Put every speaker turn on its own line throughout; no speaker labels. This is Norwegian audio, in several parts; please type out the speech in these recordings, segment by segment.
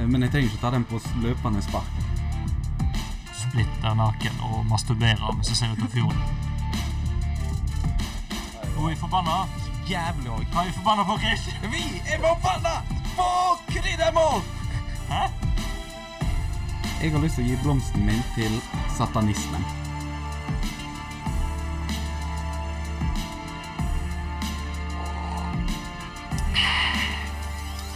Eh, Men jeg trenger ikke ta den på s- løpende spark.
splitter naken og masturberer mens jeg ser ut av fjorden. Og jeg er forbanna.
Jævlig òg.
Hva er jeg forbanna på, Chris?
Vi er forbanna på kryddermål!
Hæ?
Jeg har lyst til å gi blomsten min til satanismen.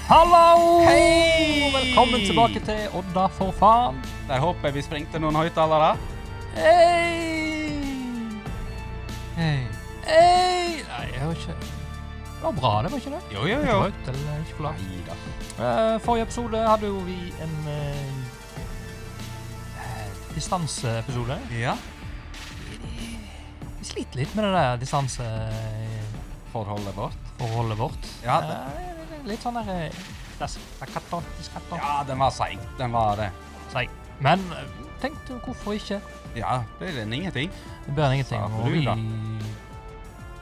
Hallo!
Hei!
Velkommen tilbake til Odda, for faen.
Der håper jeg vi sprengte noen høyttalere.
Hei! Hei. Hei! Nei, jeg hører ikke Det var bra, det var ikke det?
Jo, jo,
Ikke
jo.
høyt, eller ikke for lavt.
Neida.
Eh, Forrige episode hadde jo vi en eh, eh, distanseepisode.
Ja.
Vi sliter litt med det der distanseforholdet
Forholdet vårt.
vårt.
Ja, det-
det. litt sånn der eh, das- da katter, dis katter.
Ja, den var seig. Den var eh, det.
Nei, Men eh, tenk du, hvorfor ikke?
Ja, det er den ingenting.
Det blir ingenting.
Ja, for
og
du
vi
da.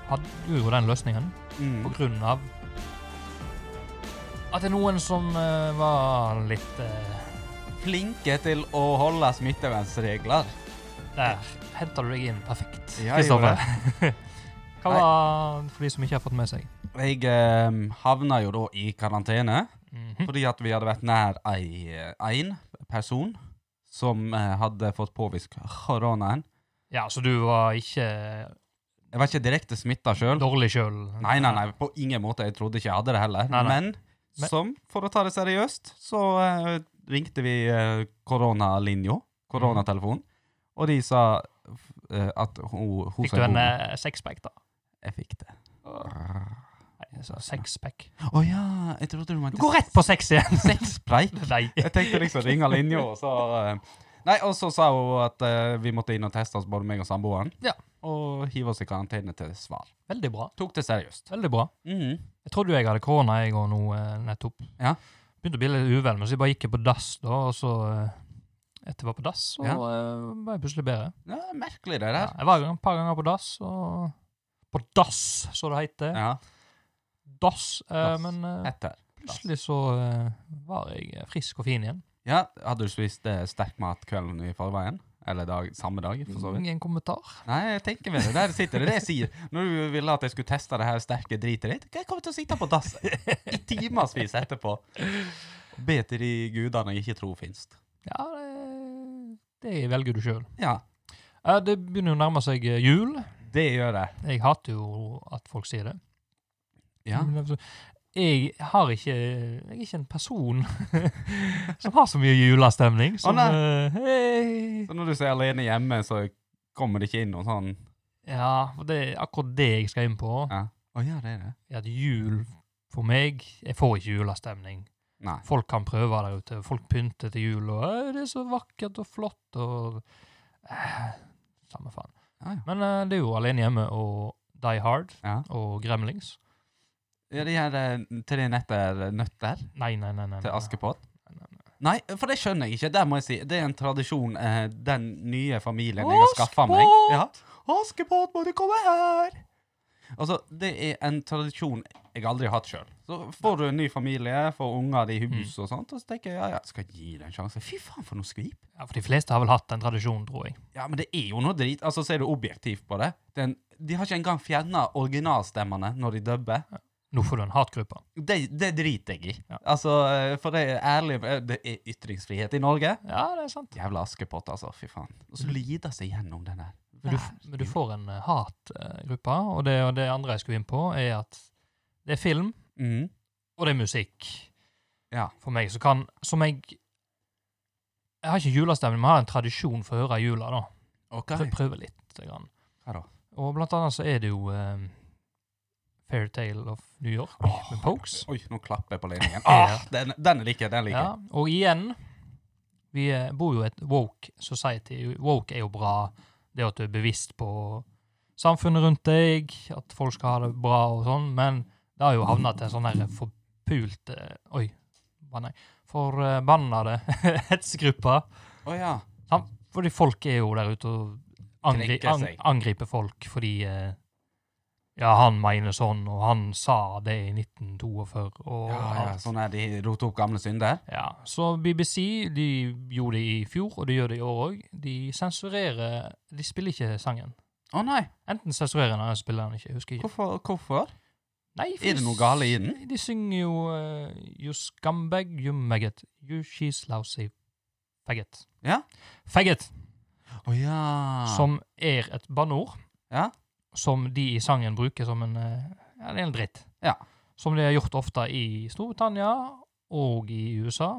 hadde jo den løsningen på
Mm.
grunn av at det er noen som eh, var litt eh,
Flinke til å holde smittevernregler.
Der henter du deg inn perfekt,
Ja, jeg gjorde
Hva var for de som ikke har fått med seg?
Jeg eh, havna jo da i karantene
Mhm.
fordi at vi hadde vært nær ei, eh, ein person som eh, hadde fått påvist koronaen.
Ja, så du var ikke
Jeg var ikke direkte smitta sjøl.
dårlig sjøl?
Nei, nei, nei, på ingen måte. Jeg trodde ikke jeg hadde det heller.
Nei, nei. Men-
Men som, for å ta det seriøst, så eh, ringte vi eh, koronalinja, koronatelefonen, og de sa eh, at hun, hun
Fikk
som
du
er
en
god-
eh, sexpack, da?
Jeg fikk det. Å
Nei, så Sexpack.
ja, jeg trodde du mente
Du går rett på sex igjen!
sexpreik.
Nei.
Jeg tenkte liksom ringe linja, og så eh, Nei, og så sa hun at eh, vi måtte inn og teste oss, både meg og samboeren,
Ja.
og hive oss i karantene til svar.
Veldig bra.
Tok det seriøst.
Veldig bra.
Mhm.
Jeg trodde jo jeg hadde korona, jeg òg, nå eh, nettopp.
Ja.
Begynte å bli litt uvel, men så jeg bare gikk jeg på dass, da, og så eh, Etter jeg var på dass, så
Ja.
eh, var jeg plutselig bedre.
Ja, merkelig, det
Ja,
der.
jeg var et par ganger på dass, og På dass, så det heter.
Ja.
Dass. eh,
Dass.
Men eh,
Etter.
plutselig så eh, var jeg eh, frisk og fin igjen.
Ja, hadde du spist eh, sterk mat kvelden i forveien? Eller dag, samme dag, for så vidt?
Ingen kommentar.
Nei, jeg tenker med det. Der sitter det. Det jeg sier. Når du ville at jeg skulle teste det her sterke dritet ditt, jeg kommer til å sitte på dass i timevis etterpå og be til de gudene jeg ikke tror finnes.
Ja, det, det velger du sjøl.
Ja,
Eh, Det begynner jo å nærme seg eh, jul.
det gjør jeg.
Jeg hater jo at folk sier det.
Ja.
Men altså, Jeg har ikke Jeg er ikke en person som har så mye julestemning. Som, eh, hei.
Så når du er alene hjemme, så kommer det ikke inn noen sånn
Ja, for det er akkurat det jeg skal inn på.
Ja. Å ja, det er det.
er At jul for meg Jeg får ikke julestemning.
Nei.
Folk kan prøve der ute. Folk pynter til jul, og «Øy, det er så vakkert og flott og eh, Samme faen.
Ja, ja.
Men eh, det er jo Alene hjemme og Die Hard
ja.
og Gremlings.
ja de her eh, tre netter nøtter
Nei, nei, nei. nei, nei.
til Askepott? Nei, for det skjønner jeg ikke. Der må jeg si, Det er en tradisjon eh, den nye familien jeg har skaffa meg. Ja. Askepott, må du komme her! Altså, Det er en tradisjon jeg aldri har hatt sjøl. Så får du en ny familie, får unger i hus og sånt, og så tenker jeg ja, ja, skal jeg gi det en sjanse. Fy faen, for noe skvip!
Ja, for de fleste har vel hatt den tradisjonen, tror jeg.
Ja, men det er jo noe drit. Altså, Ser du objektivt på det? det er en, de har ikke engang fjerna originalstemmene når de dubber.
Nå får du en hatgruppe.
Det, det driter jeg i.
Ja.
Altså, eh, For det er ærlig, eh, det er ytringsfrihet i Norge.
Ja, det er sant.
Jævla Askepott, altså. Fy faen. Og så lider seg gjennom den der.
Mm. Men du, men du får en eh, hatgruppe, og det, og det andre jeg skulle inn på, er at det er film,
Mhm.
og det er musikk.
Ja.
For meg, så kan Som jeg Jeg har ikke julestemning, men jeg har en tradisjon for å høre i jula, da.
OK.
Prøv, prøve litt. Grann.
Hva da?
Og blant annet så er det jo eh, Fairytale of New York med Pokes.
Oi, nå klapper jeg på ledningen.
Ja.
Ah, den, den liker jeg. Den liker
Ja,
jeg.
og igjen Vi eh, bor jo i et woke society. Woke er jo bra. Det at du er bevisst på samfunnet rundt deg, at folk skal ha det bra og sånn, men det har jo havna til en sånn her forpult eh, Oi. hva Nei. Forbannede hetsgrupper.
Å ja.
Fordi folk er jo der ute og angri
Krenker
ang
seg.
angriper folk fordi eh, Ja, han mener sånn, og han sa det i 1942, og
Ja, ja,
alt.
sånn er de roter opp gamle synder.
Ja, så BBC de gjorde det i fjor, og de gjør det i år òg. De sensurerer De spiller ikke sangen.
Å nei,
Enten sensurerer han eller spiller han ikke. jeg husker ikke.
hvorfor? hvorfor?
Nei, for
Er det noe gale i den?
De synger jo eh, You scumbag, you maggot. You she's lousy faggot.
Ja.
Faggot,
Å ja.
som er et banneord
Ja.
som de i sangen bruker som en eh, Ja, det er en dritt.
Ja.
Som de har gjort ofte i Storbritannia og i USA.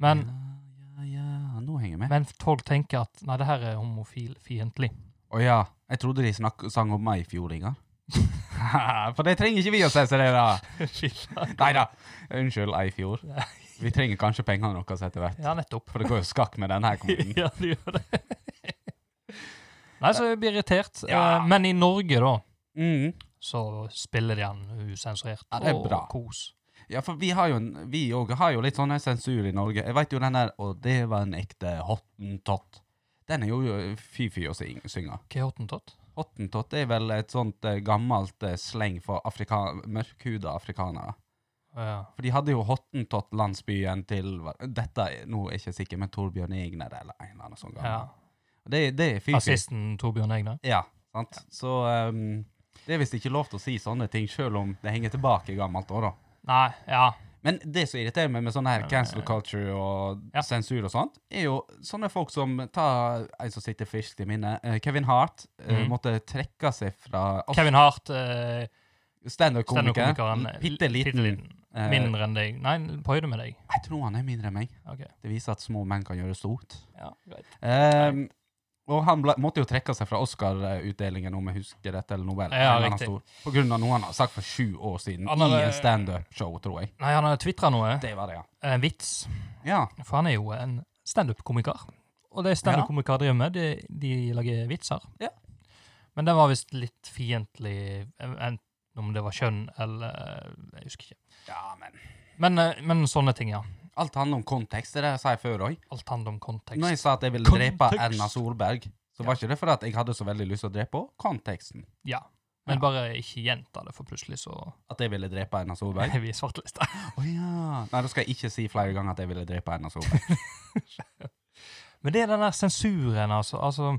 Men
Ja, ja, ja, nå henger jeg med.
Men folk tenker at nei, det her er homofilfiendtlig.
Å ja, jeg trodde de snakk, sang om meg i fjor, Ingar. For det trenger ikke vi å sensurere. Nei da. Unnskyld, ei fjor.
Nei.
Vi trenger kanskje pengene deres etter hvert.
ja, nettopp.
For det går jo skakk med denne her kommunen.
ja, det gjør det. nei, så jeg blir irritert.
Ja.
Eh, Men i Norge, da,
Mm.
så spiller de den usensurert.
Ja, det er
og
bra.
kos.
Ja, for vi har jo en- vi òg har jo litt sånne sensur i Norge. Jeg veit jo den der 'Å, det var en ekte hottentott'. Den er jo fy-fy å syng- synge.
Hva er hottentott?
Hottentott er vel et sånt eh, gammelt eh, sleng for afrika mørkhuda afrikanere.
Ja.
For de hadde jo hottentott-landsbyen til hva- Dette er, nå er jeg ikke sikker, men Torbjørn Egner eller en eller annen sånn gang.
ja.
Det, det er fy-fy.
Assisten Torbjørn Egner.
Ja, sant? Så ehm, det er visst ikke lov til å si sånne ting, sjøl om det henger tilbake i gammelt år, da.
Nei, ja.
Men det som irriterer meg med sånn her cancel culture og
Ja.
sensur og sånt, er jo sånne folk som tar en som sitter friskt i minnet. eh, Kevin Hart eh,
Mhm.
måtte trekke seg fra
Kevin Hart, eh,
standup-komikeren.
standup-komikeren.
Bitte liten.
liten.
Eh,
Mindre enn deg. Nei, på høyde med deg.
Jeg tror han er mindre enn meg.
Ok.
Det viser at små menn kan gjøre stort.
Ja, greit.
Ehm, og han ble, måtte jo trekke seg fra Oscar-utdelingen, om jeg husker dette, eller Nobel.
Ja,
en eller annen
riktig.
stor, på grunn av noe han har sagt for sju år siden
Han hadde-
i en standup-show, tror jeg.
Nei, han har tvitra noe. Eh,
Det var det, ja.
En vits.
Ja,
For han er jo en standup-komiker. Og det standup-komikere driver med, de, de lager vitser.
Ja.
Men den var visst litt fiendtlig, enten om det var kjønn eller Jeg husker ikke.
ja men
Men, eh, men sånne ting, ja.
Alt handler om kontekst, det er det jeg sa jeg før òg.
Alt handler om kontekst.
Når jeg sa at jeg ville drepe
Kontekst.
Erna Solberg, så var ikke det fordi at jeg hadde så veldig lyst til å drepe henne. Konteksten.
Ja. Men
Ja.
bare ikke gjenta det, for plutselig så
At jeg ville drepe Erna Solberg.
er vi svartelista.
Å ja. Nei, da skal jeg ikke si flere ganger at jeg ville drepe Erna Solberg.
Men det er den der sensuren, altså. altså.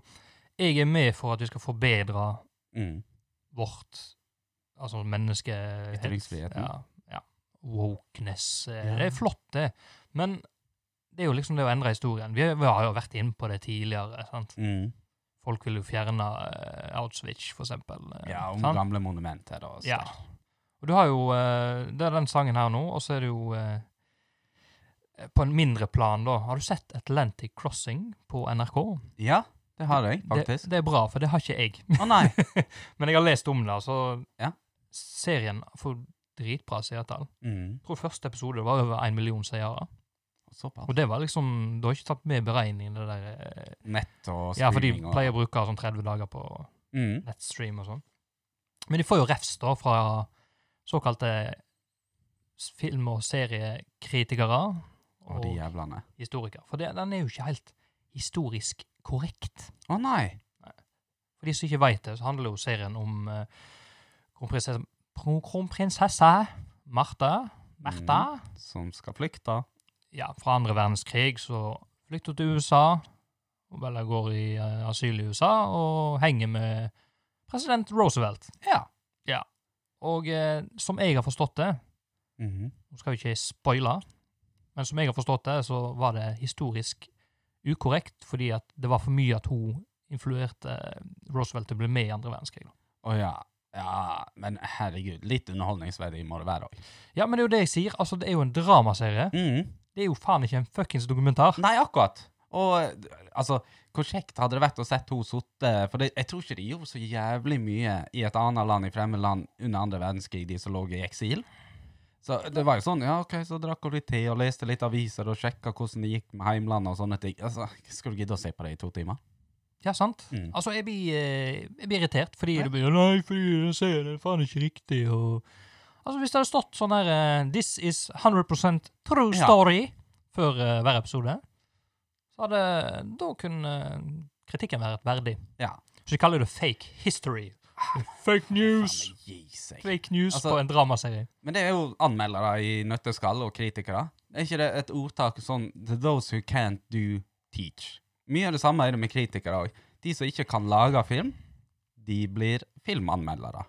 Jeg er med for at vi skal forbedre
Mm.
vårt Altså menneske...
Ytringsfriheten.
Ja, ja. Wokeness. eh,
Ja.
Det er flott, det. Men det er jo liksom det å endre historien. Vi, vi har jo vært inne på det tidligere. sant?
Mm.
Folk vil jo fjerne uh, Auschwitz, for eksempel. eh,
Ja, om
sant?
gamle monumenter og sånn.
Ja. Og du har jo eh, Det er den sangen her nå, og så er det jo eh, På en mindre plan, da. Har du sett Atlantic Crossing på NRK?
ja, det har jeg
Det,
faktisk.
det er bra, for det har ikke jeg.
Å nei.
Men jeg har lest om det, og så
Ja.
Serien får dritbra seertall.
Mm.
Jeg tror første episode var over én million seere.
Såpass.
Og det var liksom, du har ikke tatt med i beregningen det der eh,
Nett og streaming
Ja, for de
og
pleier å bruke sånn 30 dager på
mm.
nettstream og sånn. Men de får jo refs da fra såkalte s- film- og seriekritikere
Og
og
de jævlene.
historikere. For det, den er jo ikke helt historisk korrekt.
Å nei.
For de som ikke veit det, så handler jo serien om eh, kronprinsesse, pro- kronprinsesse Martha, Martha
Mm. Som skal flykte.
ja, fra andre verdenskrig, så flykter hun til USA, og Bella går i eh, asyl i USA, og henger med president Roosevelt.
Ja.
Og eh, som jeg har forstått det,
Mhm.
nå skal vi ikke spoile, men som jeg har forstått det, så var det historisk ukorrekt, fordi at det var for mye at hun influerte eh, Roosevelt til å bli med i andre verdenskrig. da.
Å ja. Ja, men herregud, litt underholdningsverdig må det være òg.
Ja, men det er jo det jeg sier. Altså, det er jo en dramaserie.
Mm.
Det er jo faen ikke en fuckings dokumentar.
Nei, akkurat. Og altså, hvor kjekt hadde det vært å sett henne sitte For det, jeg tror ikke de gjorde så jævlig mye i et annet land, i fremmed land, under andre verdenskrig, de som lå i eksil. Så det var jo sånn, ja, OK, så drakk hun litt te og leste litt aviser og sjekka hvordan det gikk med heimlandet og sånne ting. Altså, Skal du gidde å se på det i to timer?
Ja, sant?
Mm.
Altså, jeg blir, eh, jeg blir irritert fordi
Ja.
du blir Nei, fordi jeg ser det faen ikke riktig, og Altså, hvis det hadde stått sånn her eh, This is 100 true
Ja.
story før eh, hver episode, så hadde Da kunne eh, kritikken vært verdig.
Ja. Ah.
Så de kaller det fake history. Fake news!
Faen, gi seg.
Fake news
Altså-
på en dramaserie.
Men det er jo anmeldere i nøtteskall og kritikere. Er ikke det et ordtak sånn «To Those who can't do, teach. Mye av det samme er det med kritikere òg. De som ikke kan lage film, de blir filmanmeldere.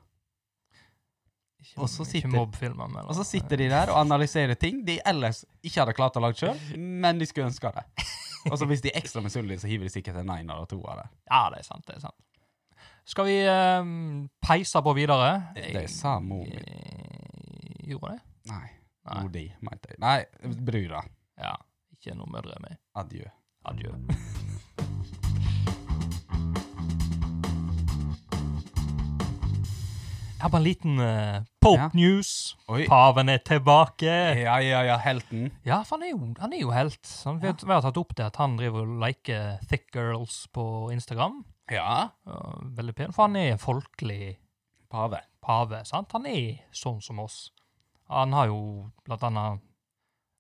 Ikke,
Og så
ikke
sitter-
mobbfilmer, men
Og så sitter de der og analyserer ting de ellers ikke hadde klart å lage sjøl, men de skulle ønske det. Og så hvis de er ekstra misunnelige, så hiver de sikkert en einer og toer der.
Ja, det er sant. det er sant. Skal vi ehm, peise på videre?
Det sa mor mi.
Jeg- Gjorde det?
Nei,
Nei.
mor di, mente jeg. Nei, brura.
Ja. Ikke noe mødre med.
Adjø.
Adjø. Jeg har bare en liten eh,
Ja.
Pope-news.
Oi.
Paven er tilbake.
Ja, ja, ja, helten.
Ja, for han er jo, han er jo helt. Han vet, Vi har tatt opp det at han driver og liker thick girls på Instagram.
Ja.
Ja, veldig pen, for han er folkelig
Pave.
pave. sant? Han er sånn som oss. Han har jo blant annet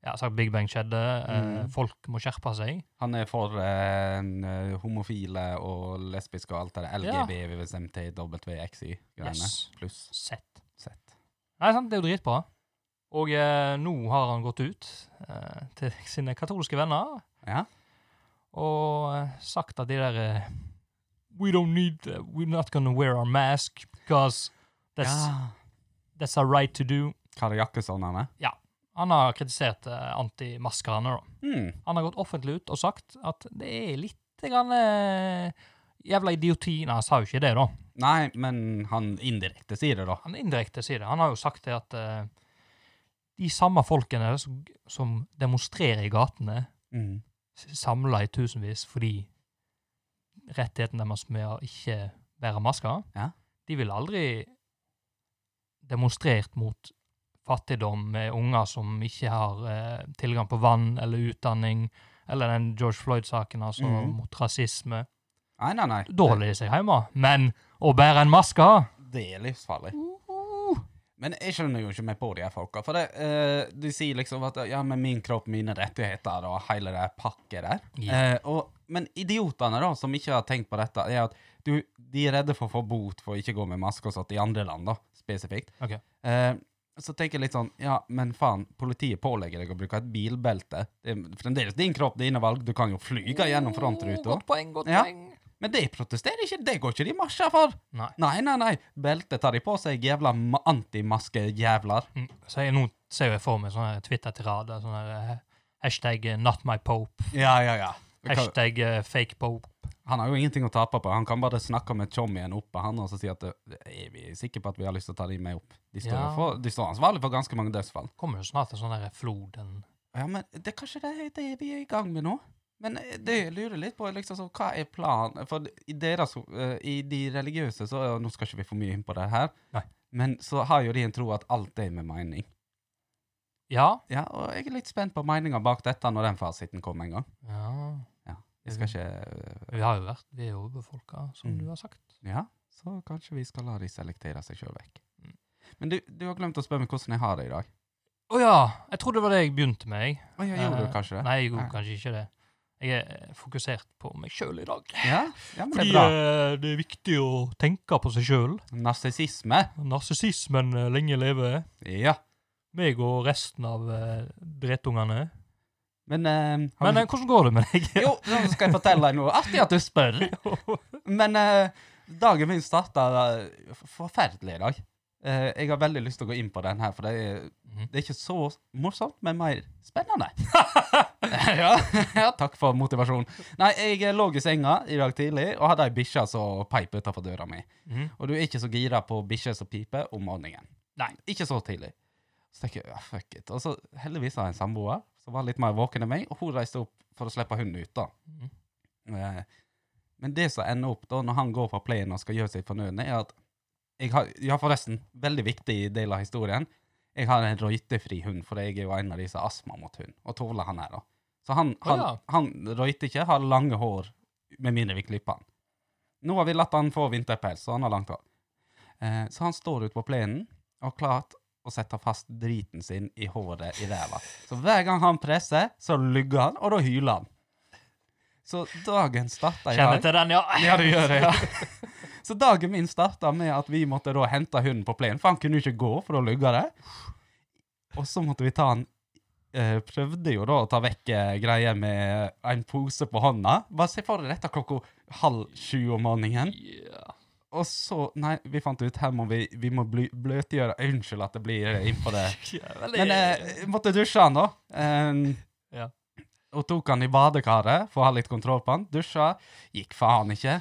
ja, sagt Big Bang skjedde, eh,
Mm.
folk må skjerpe seg.
Han er for eh, en, eh, homofile og lesbiske og alt det der.
Ja.
LGBWXY-greiene.
Yes.
Pluss
Sett.
sett.
Nei, sant, det er jo dritbra. Og eh, nå har han gått ut eh, til sine katolske venner
Ja.
og eh, sagt at de der eh, We don't need, eh, we're not gonna wear our mask because that's,
ja.
that's our right to do.
Kari Jakkesson, han er.
Han har kritisert eh, antimaskerne, da.
Hmm.
Han har gått offentlig ut og sagt at det er litt grann, eh, jævla idioti. Nei, han sa jo ikke det, da.
Nei, men han indirekte sier det, da.
Han indirekte sier det. Han har jo sagt det at eh, de samme folkene som, som demonstrerer i gatene,
Mm.
samla i tusenvis fordi rettigheten deres med å ikke bære masker,
Ja.
de ville aldri demonstrert mot fattigdom med unger som ikke har eh, tilgang på vann eller utdanning, eller den George Floyd-saken, altså
Mhm.
mot rasisme.
Nei, nei, nei.
Da holder de seg hjemme. Men å bære en maske
Det er livsfarlig.
Uhuh.
Men jeg skjønner jo ikke mer på de her folka. For det, eh, de sier liksom at ja, men min kropp, mine rettigheter og hele det pakket der.
Ja.
Eh, og, men idiotene da, som ikke har tenkt på dette, er at du, de er redde for å få bot for å ikke gå med maske og sånt i andre land, da, spesifikt.
Ok.
Eh, så tenker jeg litt sånn, ja, men faen, politiet pålegger deg å bruke et bilbelte. Det er fremdeles din kropp, dine valg, du kan jo flyge gjennom frontruta.
Godt poeng, godt
Ja.
poeng.
Men det protesterer ikke, det går ikke de marsjer for.
Nei.
Nei, nei, nei. Beltet tar de på seg, jævla ma- antimaskejævler.
Mm. Så jeg, nå ser jeg for meg sånne Twitter-tirader. Sånne eh, hashtag eh, not my pope,
Ja, ja, ja. Hva-
hashtag eh, fake pope.
Han har jo ingenting å tape på. Han kan bare snakke med Tjommien oppe, han, og så si at eh, er vi sikre på at vi har lyst til å ta de med opp? De står,
Ja.
for, de står ansvarlig for ganske mange dødsfall.
Kommer jo snart en sånn der flod. En,
Ja, men det er kanskje det, det vi er i gang med nå. Men eh, det jeg lurer litt på, er liksom, så, hva er planen? For i, deres, eh, i de religiøse, så eh, Nå skal ikke vi for mye inn på det her,
Nei.
men så har jo de en tro at alt er med mening.
ja.
Ja, og jeg er litt spent på meninga bak dette når den fasiten kommer en gang.
ja.
Jeg
Mhm.
skal ikke eh,
Vi har jo vært Vi er jo befolka, som
Mm.
du har sagt.
Ja, så kanskje vi skal la de selektere seg sjøl vekk.
Mm.
Men du, du har glemt å spørre meg hvordan jeg har det i dag.
Å ja! Jeg trodde det var det jeg begynte med. Jeg.
Å, ja, gjorde
Eh,
du kanskje det?
Nei, jeg gjorde
Nei.
kanskje ikke det. Jeg er eh, fokusert på meg sjøl i dag.
Ja, ja, men det
Fordi
er bra.
eh, det er viktig å tenke på seg sjøl.
Narsissisme.
Narsissismen eh, lenge leve.
Ja.
Meg og resten av eh, dretungene.
Men, eh, har
Men eh,
du...
hvordan går det med deg?
Jo, nå skal jeg fortelle deg noe. Artig at du spør. Men eh, dagen min starta forferdelig i dag. Eh, jeg har veldig lyst til å gå inn på den her, for det er,
Mhm.
det er ikke så morsomt, men mer spennende. ja, ja, takk for motivasjonen. Nei, jeg eh, lå i senga i dag tidlig og hadde ei bikkje som peip utafor døra mi.
Mhm.
Og du er ikke så gira på bikkjer som piper om morgenen.
Nei.
Ikke så tidlig. Så tenker jeg, ja, fuck it. Og så heldigvis har jeg en samboer som var litt mer våken enn meg, og hun reiste opp for å slippe hunden ut, da.
Mhm.
Eh, Men det som ender opp da, når han går fra playen og skal gjøre sitt fornødne, er at jeg har, ja, forresten, veldig viktig del av historien, jeg har en røytefri hund, for jeg er jo en av de som har astma mot hund, og tåler han her da. Så han,
Å,
han,
ja.
han røyter ikke, har lange hår, med mindre vi klipper han. Nå har vi latt han få vinterpels, så han har langt hår. Eh, så han står ute på plenen, og har klart å sette fast driten sin i håret i ræva. Så hver gang han presser, så lugger han, og da hyler han. Så dagen starter i
Kjenner
dag.
til den, ja.
Ja, du gjør det, ja. Så dagen min starta med at vi måtte da hente hunden på plenen, for han kunne jo ikke gå, for da lugga det. Og så måtte vi ta han eh, Prøvde jo da å ta vekk eh, greier med en pose på hånda. Bare se for deg dette klokka halv sju om morgenen.
Yeah.
Og så Nei, vi fant ut her må vi, vi må bly, bløtgjøre Unnskyld at det blir innpå det.
Veldig...
Men eh, måtte dusje han, da. Em,
Ja.
Og tok han i badekaret for å ha litt kontroll på han. Dusja. Gikk faen ikke.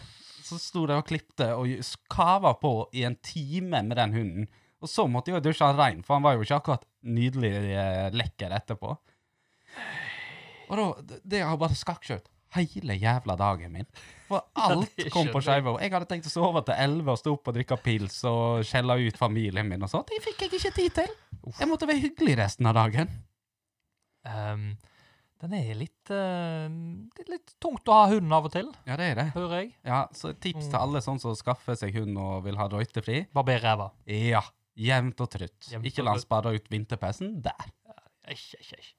Så sto de og klipte og ju- kava på i en time med den hunden. Og så måtte jeg jo dusje han rein, for han var jo ikke akkurat nydelig eh, lekker etterpå. Og da, det- det har bare skakkjørt hele jævla dagen min. For alt
det
kom på
skjønner
skeive. Og Jeg hadde tenkt å sove til elleve og stå opp og drikke pils og skjelle ut familien min og sånt. Det fikk jeg ikke tid til. Jeg måtte være hyggelig resten av dagen.
Ehm, den er litt eh, Det er litt tungt å ha hund av og til,
Ja, det er det.
hører jeg.
Ja, så et tips til alle sånn som skaffer seg hund og vil ha røytefri.
Barber ræva.
Ja, jevnt og trutt.
Jevnt
ikke
og
la han
trutt.
spadde ut vinterpeisen der.
Eish, eish, eish.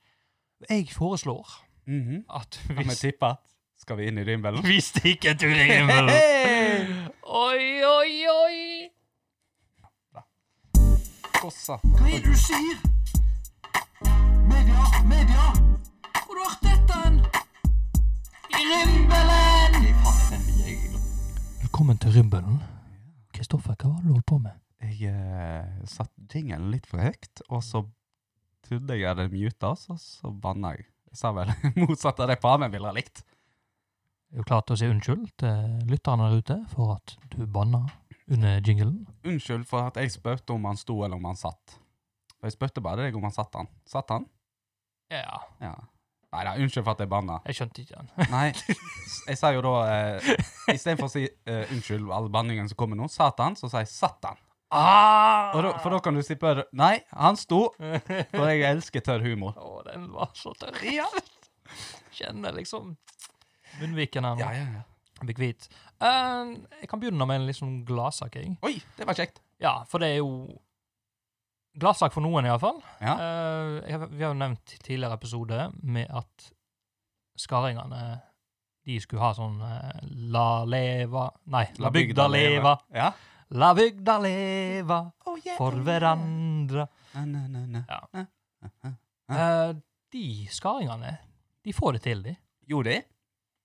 Jeg foreslår
Mhm.
at
Kan vi
hvis
tippe at skal vi inn i rimbelen?
Vi stikker en tur i himmelen!
Hey!
Oi, oi, oi!
Kossa.
Hva er det du sier? Media, media! Hvor har du hørt dette? hen? I rimbelen!
Velkommen til Rimbelen. Kristoffer, hva var det du holdt på med?
Jeg eh, satt jingelen litt for høyt, og så trodde jeg jeg hadde muta oss, og så banna jeg. Jeg sa vel motsatt av det Paven ville ha likt.
er jo klart å si unnskyld til lytterne der ute for at du banna under jinglen.
Unnskyld for at jeg spurte om han sto eller om han satt. For Jeg spurte bare deg om han satt han. Satt han?
Ja,
Ja. Nei da, unnskyld for at jeg banna.
jeg skjønte ikke den.
Nei, s- jeg sa jo da eh, Istedenfor å si eh, 'unnskyld, all banningen som kommer nå', Satan, så sier jeg 'Satan'.
Ah!
Og da, for da kan du si bare 'Nei, han sto', for jeg elsker tørr humor.
Å, den var så tørr. Kjenner liksom munnviken her nå.
Ja, ja, ja.
Blir hvit. Eh, jeg kan begynne med en litt sånn gladsak, jeg.
Oi, det var kjekt.
Ja, for det er jo Gladsak for noen, iallfall.
Ja.
Uh, vi har jo nevnt i tidligere episode med at skardingene de skulle ha sånn eh, La leva Nei, La bygda leva.
Ja.
La bygda leva
Oh, yeah.
for hverandre.
Na, na, na, na.
Ja.
Na, na, na.
Eh, de skardingene, de får det til, de.
Gjorde jeg?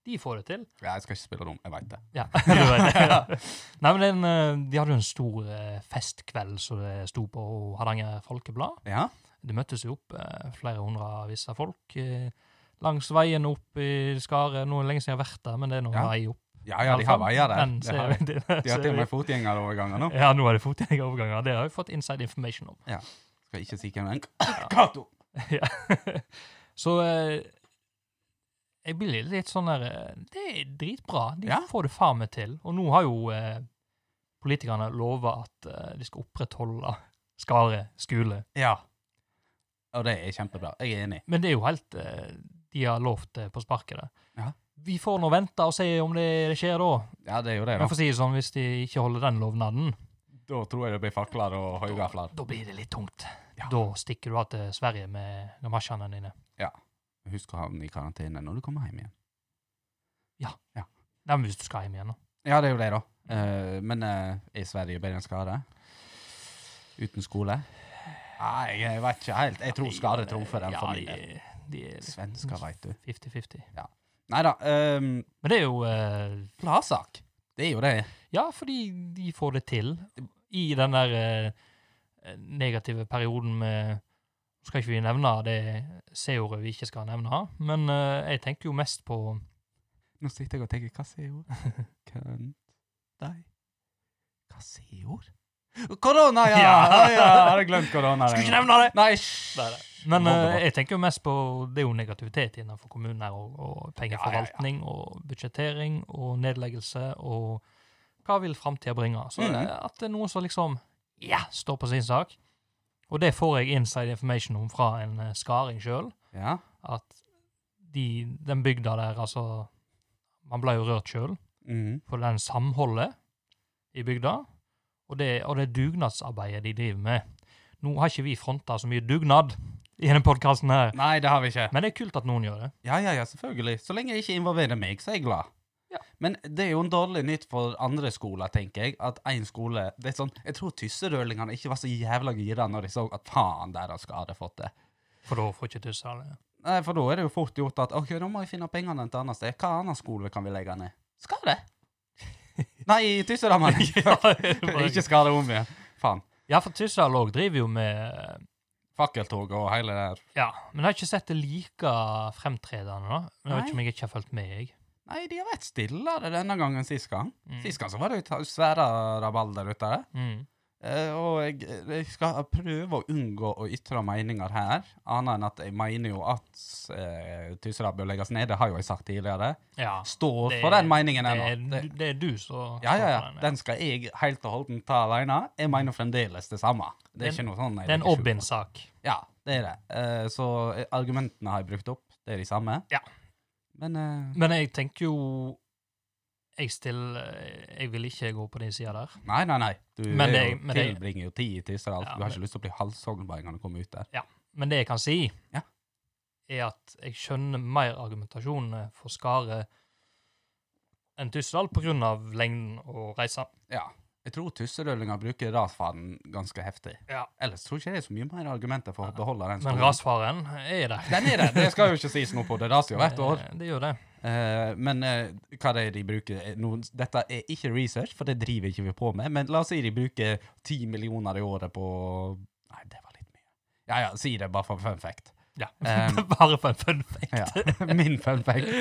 De får det til.
Ja, jeg skal ikke spille dum, jeg veit det.
Ja. du vet det. Nei, men den, eh, de hadde jo en stor eh, festkveld som det sto på Hardanger Folkeblad.
Ja.
Det møttes jo opp eh, flere hundre visse folk eh, langs veien opp i Skaret. Nå er det lenge siden jeg har vært der, men det er noen
Ja.
vei opp.
ja, ja, de har veier der.
Den
De har,
ser- den
de har
ser
til og
vi.
med fotgjengeroverganger nå.
Ja, nå er det fotgjengeroverganger. Det har jeg fått inside information om.
Skal ikke si hvem den Cato!
Ja. Så eh, jeg blir litt sånn der eh, Det er dritbra. De
Ja.
får det faen meg til. Og nå har jo eh, politikerne lova at eh, de skal opprettholde Skare skole.
Ja. Og det er kjempebra. Jeg er enig.
Men det er jo helt eh, De har lovt det på sparket. det.
Ja.
Vi får nå vente og se om det, det skjer da.
Ja, det er jo det,
Men
da.
for å si det sånn, hvis de ikke holder den lovnaden,
Da tror jeg det blir fakler og høygafler.
da blir det litt tungt.
Ja.
Da stikker du av til Sverige med gamasjene dine.
Husk å havne i karantene når du kommer hjem igjen.
Nei, men hvis du skal hjem igjen, da.
Ja, det er jo det, da. Eh, men eh, er Sverige bedre enn skade? Uten skole? Nei, jeg vet ikke helt. Jeg tror skade trumfer den
Ja,
for min del.
de- de er litt
Svensker, veit du. ehm,
50-50.
Nei da.
Men det er jo eh,
Gladsak. Det er jo det.
Ja, fordi de får det til i den der eh, negative perioden med Nå skal ikke vi nevne det C-ordet vi ikke skal nevne, men eh, jeg tenker jo mest på
Nå sitter jeg og tenker Hva sier ord? Kønt deg Hva sier ord? Korona, ja! ja.
Ja.
ja! Har jeg glemt korona?
Skulle ikke nevne det!
Nei, hysj!
Nei, nei. Men
Hold
eh,
det bort.
jeg tenker jo mest på Det er jo negativitet innenfor kommuner og, og pengeforvaltning og budsjettering og nedleggelse og hva vil framtida bringe? Så
Mhm.
eh, at det er noen som liksom ja, står på sin sak. Og det får jeg inside information om fra en eh, skaring sjøl.
Ja.
at de, den bygda der, altså Man ble jo rørt sjøl
Mhm.
på den samholdet i bygda, og det, og det dugnadsarbeidet de driver med. Nå har ikke vi fronta så mye dugnad i denne podkasten her,
Nei, det har vi ikke.
men det er kult at noen gjør det.
Ja, ja, ja, selvfølgelig. Så lenge jeg ikke involverer meg, så er jeg glad.
Ja.
Men det er jo en dårlig nytt for andre skoler, tenker jeg. At én skole det er sånn, Jeg tror tysserølingene ikke var så jævla gira når de så at faen, deres skal ha fått det.
For da får ikke tusse alle.
Nei, For da er det jo fort gjort at OK, nå må vi finne pengene et annet sted. Hva annen skole kan vi legge ned? Skade? Nei, Tyssedammen! ikke skade om igjen. Faen.
Ja, for Tysdal òg driver jo med
Fakkeltog og hele det der.
Ja, men jeg har ikke sett det like fremtredende, da. Men jeg vet
Nei.
ikke om jeg ikke har fulgt med, jeg.
Nei, de har vært stillere denne gangen sist gang.
Mm.
Sist gang så var det jo ta- svære rabalder ute.
Mm.
Eh, og jeg, jeg skal prøve å unngå å ytre meninger her, annet enn at jeg mener jo at eh, Tyssedal bør legges ned. Det har jo jeg sagt tidligere.
Ja.
Står
Det-
for den meningen
Det er,
ennå. Det-
det er du som
Ja, ja, ja.
står for den,
Den skal jeg helt og holdent ta alene. Jeg mener fremdeles det samme. Det er
Det er
ikke noe sånn. jeg
Det er en
legger skjul på.
Obin-sak.
Ja, det er det. Eh, så eh, argumentene har jeg brukt opp. Det er de samme.
Ja.
Men eh,
Men jeg tenker jo Jeg stiller Jeg vil ikke gå på den sida der.
Nei, nei, nei. Du
Men
er
det-
jo,
men det-
tilbringer jo tid i Tyssedal.
Ja,
du har
men-
ikke lyst til å bli halshogd hver gang du kommer ut der.
Men det jeg kan si,
Ja.
er at jeg skjønner mer argumentasjonene for Skare enn Tysdal på grunn av lengden og reisa.
Ja. Jeg tror tusserølinger bruker rasfaden ganske heftig.
Ja.
Ellers tror ikke jeg det er så mye mer argumenter for å beholde den.
Men
skolen.
rasfaren er der.
Den er det. Det skal jo ikke sies noe på. Det raser jo hvert år.
Det, det gjør det.
Eh, men eh, hva det er de bruker eh, noen, Dette er ikke research, for det driver ikke vi på med. Men la oss si de bruker ti millioner i året på Nei, det var litt mye. Ja ja, si det bare for fun fact.
Ja.
Um,
Bare for en fun fact.
Ja, Min fun fact.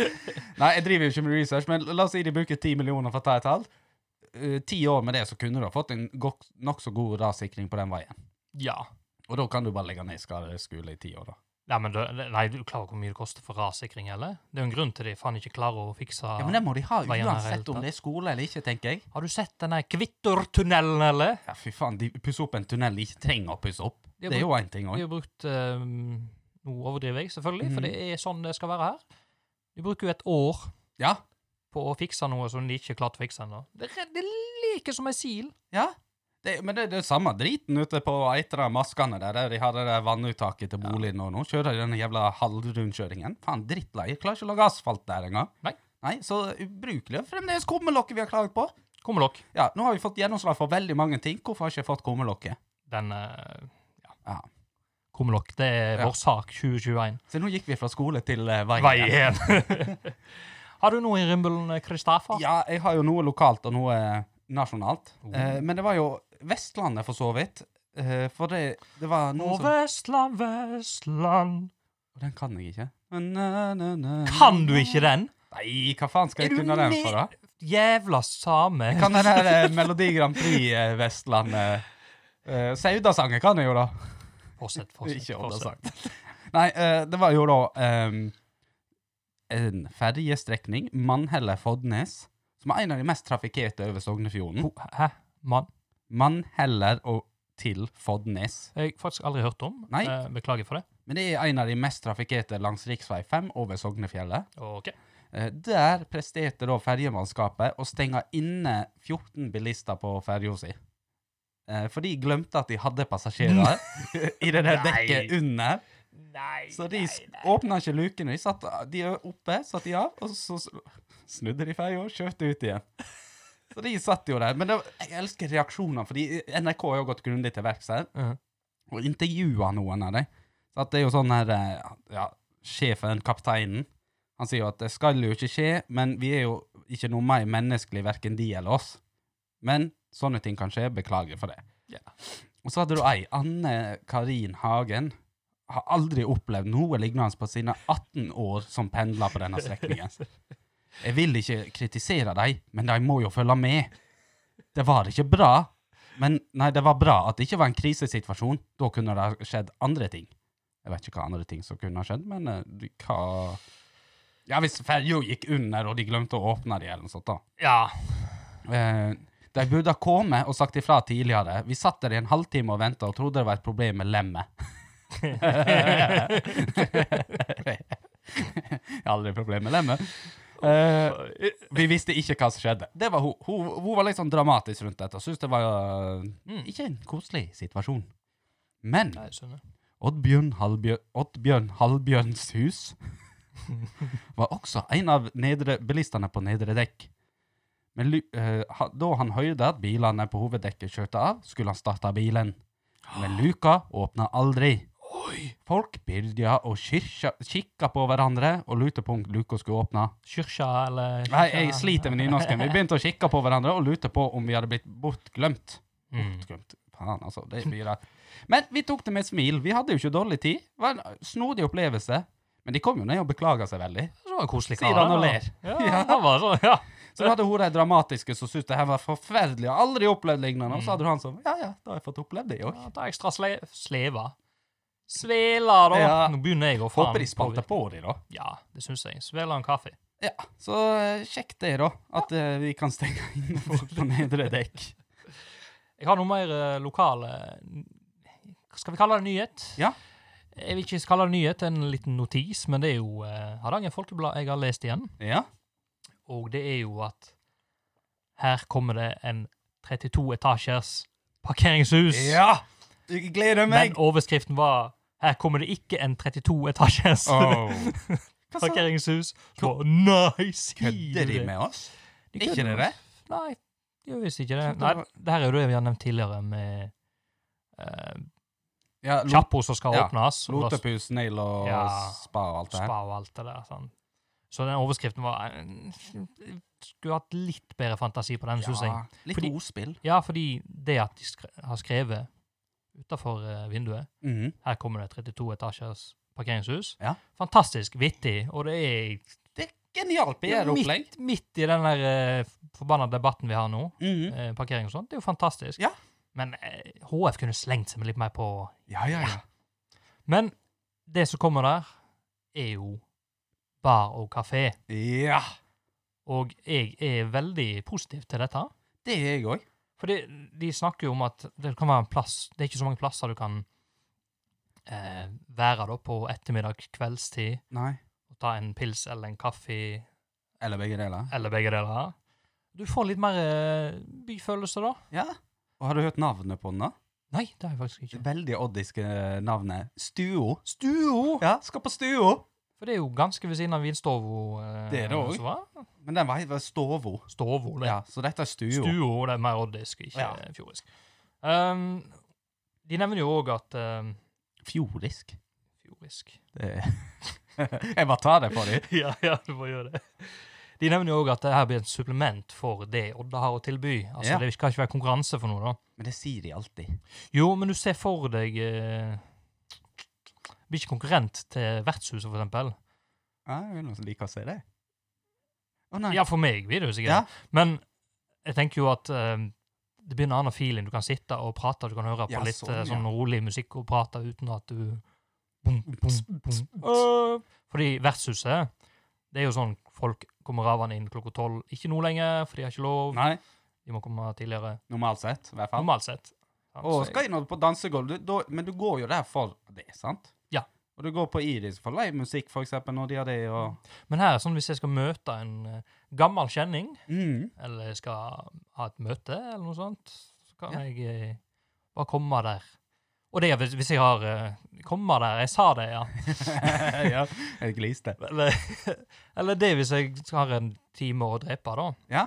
Nei, jeg driver jo ikke med research, men la oss si de bruker ti millioner for å ta et tall. Eh, Ti år med det, så kunne du ha fått en nokså god rassikring på den veien.
Ja.
Og da kan du bare legge ned Skare skole i ti år, da.
Nei, men du, nei, du klarer hvor mye det koster for rassikring, eller? Det er jo en grunn til de faen ikke klarer å fikse
Ja, Men det må de ha
Veien er
uansett
helt
om
tatt.
det er skole eller ikke, tenker jeg.
Har du sett denne Kvittortunnelen, eller?
Ja, fy faen, de pusser opp en tunnel de ikke trenger å pusse opp.
De har
Det er jo én ting
Vi
òg.
har brukt ehm, Nå overdriver jeg, selvfølgelig, for
Mhm.
det er sånn det skal være her. Vi bruker jo et år
Ja.
på å fikse noe som de ikke klarte å fikse ennå. Det, er- det leker som ei sil.
ja. Det, men det, det er samme driten ute på Eitra, maskene der, der de har det der vannuttaket til boligen og nå. Kjører de den jævla halvrundkjøringen. Faen, drittleie. Klarer ikke å lage asfalt der engang.
Nei.
Nei, så ubrukelig. Fremdeles kummelokket vi har klaget på.
Kommer dere?
Ja, nå har vi fått gjennomslag for veldig mange ting. Hvorfor har jeg ikke fått kummelokket?
Den eh, Ja.
Ja.
Kommer dere? Det er
Ja.
vår sak 2021.
Så nå gikk vi fra skole til eh, vei.
Vei igjen. Har du noe i eh, rimbelen, Kristoffer?
Ja, jeg har jo noe lokalt og noe eh, nasjonalt.
Oh.
Eh, men det var jo Vestlandet, for så vidt. Eh, for det, det var noe
Å, Vestland, Vestland
som Den kan jeg ikke. Na, na, na, na.
Kan du ikke den?
Nei, hva faen skal jeg
Er du
kunne den
med?
for, da?
Jævla same.
Kan den der eh, Melodi Grand Prix eh, Vestlandet eh, Saudasangen kan jeg jo, da.
Fortsett, fortsett.
Ikke Oddasang.
fortsett.
Nei, eh, det var jo da ehm, en ferjestrekning, Mannheller-Fodnes, som er en av de mest trafikkerte over Sognefjorden.
Ho- Hæ? Mann?
Mannheller og til Fodnes.
Jeg har faktisk aldri hørt om.
Nei.
Eh, Beklager for det.
Men det er en av de mest trafikkerte langs rv. 5 over Sognefjellet.
Ok.
Eh, Der presterte da ferjemannskapet å stenge inne 14 bilister på ferja si. Eh, For de glemte at de hadde passasjerer i det der
Nei.
dekket under.
Nei,
Så de åpna ikke lukene. De, satt, de er oppe, satt de av, og så s- snudde de ferja og kjørte ut igjen. Så de satt jo der. Men det, var- jeg elsker reaksjonene, fordi NRK har jo gått grundig til verks her
Mhm.
og intervjua noen av dem. Så at det er jo sånn her eh, Ja, sjefen, kapteinen, han sier jo at det skal jo ikke skje, men vi er jo ikke noe mer menneskelig, verken de eller oss. Men sånne ting kan skje. Beklager for det.
Ja.
Og så hadde du ei, Anne Karin Hagen. Har aldri opplevd noe lignende på sine 18 år som pendler på denne strekningen. Jeg vil ikke kritisere dem, men de må jo følge med. Det var ikke bra, men nei, det var bra at det ikke var en krisesituasjon. Da kunne det ha skjedd andre ting. Jeg vet ikke hva andre ting som kunne ha skjedd, men eh, du, hva Ja, hvis ferja gikk under, og de glemte å åpne de, eller noe sånt, da.
Ja.
Eh, de burde ha kommet og sagt ifra tidligere. Vi satt der i en halvtime og venta og trodde det var et problem med lemmet. Jeg har aldri problem med lemmet. Eh, vi visste ikke hva som skjedde. Det var hun. Hun, hun var litt sånn dramatisk rundt dette. Syns det var eh,
Mm.
ikke en koselig situasjon. Men
Nei, jeg skjønner.
Oddbjørn Halbjør, Oddbjørn Halbjørns hus var også en av nedre, bilistene på nedre dekk. Men lu- eh, ha- da han hørte at bilene på hoveddekket kjørte av, skulle han starte bilen. Men luka åpna aldri. Folk byrja å kyrkja- kikka på hverandre og lurte på om luka skulle åpne.
Kyrkja eller
Nei, jeg sliter med nynorsken. Vi begynte å kikke på hverandre og lurte på om vi hadde blitt bortglemt.
Mm.
Bortglemt. Faen, altså. Det blir det. Men vi tok det med smil. Vi hadde jo ikke dårlig tid. Det var en snodig opplevelse. Men de kom jo ned og beklaga seg veldig.
Det var en koselig
Sier
kar.
han
da.
og ler.
Ja, det var sånn, ja.
Så hadde hun de dramatiske som syntes det her var forferdelig og aldri opplevd lignende.
Mm.
Og så hadde hun han som Ja, ja, da har jeg fått oppleve det i år.
ja ta ekstra sle sleva. Svela, da.
Ja.
Nå begynner jeg å faen
Håper de spalte på de, da.
Ja, det syns jeg. Svela en kaffe.
Ja, så eh, sjekk det, da. At eh, vi kan stenge inne folk på nedre dekk.
Jeg har noe mer eh, lokale hva Skal vi kalle det nyhet?
Ja.
Jeg vil ikke kalle det nyhet, det er en liten notis, men det er jo eh, Hardanger Folkeblad jeg har lest igjen.
Ja.
Og det er jo at her kommer det en 32 etasjers parkeringshus.
Ja! Jeg gleder
men
meg!
overskriften var her kommer det ikke en 32 etasjers
Hva sa
parkeringshus. Så, nice!
Kødder de med oss? Ikke det det?
Nei, de gjør visst ikke det.
Jeg trodde
Nei,
det var-
det her er jo det vi har nevnt tidligere med eh,
Ja, lo-
Kjappo som skal
Ja,
åpnes. og da
Lotepus, nail og
Ja.
spa og alt det her.
spa og alt det der. Sånn. Så den overskriften var eh, Skulle hatt litt bedre fantasi på den, syns jeg.
litt
Fordi-
ordspill.
Ja, fordi det at de skre har skrevet utafor vinduet
Mhm.
Her kommer det 32 etasjers parkeringshus.
Ja.
Fantastisk vittig, og det er
Det er genialt PR-opplegg.
midt, midt i den der eh, forbanna debatten vi har nå,
Mhm.
eh, parkering og sånt. Det er jo fantastisk.
Ja.
Men eh, HF kunne slengt seg med litt mer på
Ja, ja, ja.
Men det som kommer der, er jo bar og kafé.
Ja,
Og jeg er veldig positiv til dette.
det er jeg òg.
For det, de snakker jo om at det kan være en plass Det er ikke så mange plasser du kan eh, være da på ettermiddag, kveldstid,
Nei.
og ta en pils eller en kaffe
Eller begge deler.
eller begge deler. Du får litt mer eh, byfølelse da.
Ja. Og har du hørt navnet på den, da?
Nei, det har jeg faktisk
Det
ikke.
veldig oddiske eh, navnet. Stuo. Stuo? Ja, skal på stuo.
For det er jo ganske ved siden av vinstovo. Eh,
Det er det også.
som var.
Men den var helt stovo.
Stovo, det.
Ja, så dette er stuo.
Stuo, det er mer oddisk, ikke
Ja.
eh, fjordisk. Um, de nevner jo òg at um,
Fjordisk.
Fjordisk
Det er Jeg bare tar det for dem.
ja, ja, du må gjøre det. De nevner jo òg at det her blir et supplement for det Odda har å tilby. Altså,
Ja.
Det skal ikke være konkurranse for noe, da.
Men det sier de alltid.
Jo, men du ser for deg eh, Blir ikke konkurrent til vertshuset, for eksempel.
Ja, det er noen som liker å se det. Å nei.
Ja, for meg blir det jo sikkert.
Ja.
Men jeg tenker jo at eh, det blir en annen feeling. Du kan sitte og prate, du kan høre på
Ja,
litt eh,
sånn, ja.
sånn rolig musikk og prate uten at du bum, bum, bum. Øh. Fordi vertshuset, det er jo sånn folk kommer ravende inn klokka tolv. Ikke nå lenger, for de har ikke lov.
Nei,
De må komme tidligere.
normalt sett, i hvert fall.
Normalt sett. Ja,
Og
så jeg-
skal inn på dansegulv, du- da- men du går jo der for det, sant?
Ja.
Og du går på Iris for livemusikk, for eksempel, når de har det, og
Men her, sånn hvis jeg skal møte en eh, gammel kjenning,
mm.
eller jeg skal ha et møte, eller noe sånt, så kan
Ja.
jeg eh, bare komme der. Og det er hvis, hvis jeg har eh, Komme der, jeg sa det, ja.
ja, jeg gliste.
Eller, eller det hvis jeg har en time å drepe, da.
Ja.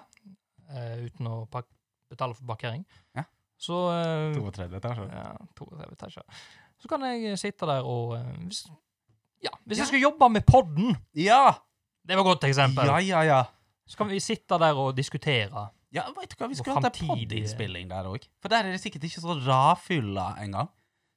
Eh, uten å pak betale for parkering.
Ja.
Så eh,
32 etasjer.
ja, 32 etasjer. Så kan jeg sitte der og eh, hvis, Ja, hvis jeg skal jobbe med podden,
Ja!
det var et godt eksempel,
Ja, ja, ja.
så kan vi sitte der og diskutere.
Ja, vet du hva, vi
Og
skulle hatt en
fremtidige-
podinnspilling der òg. For der er det sikkert ikke så radfylla engang.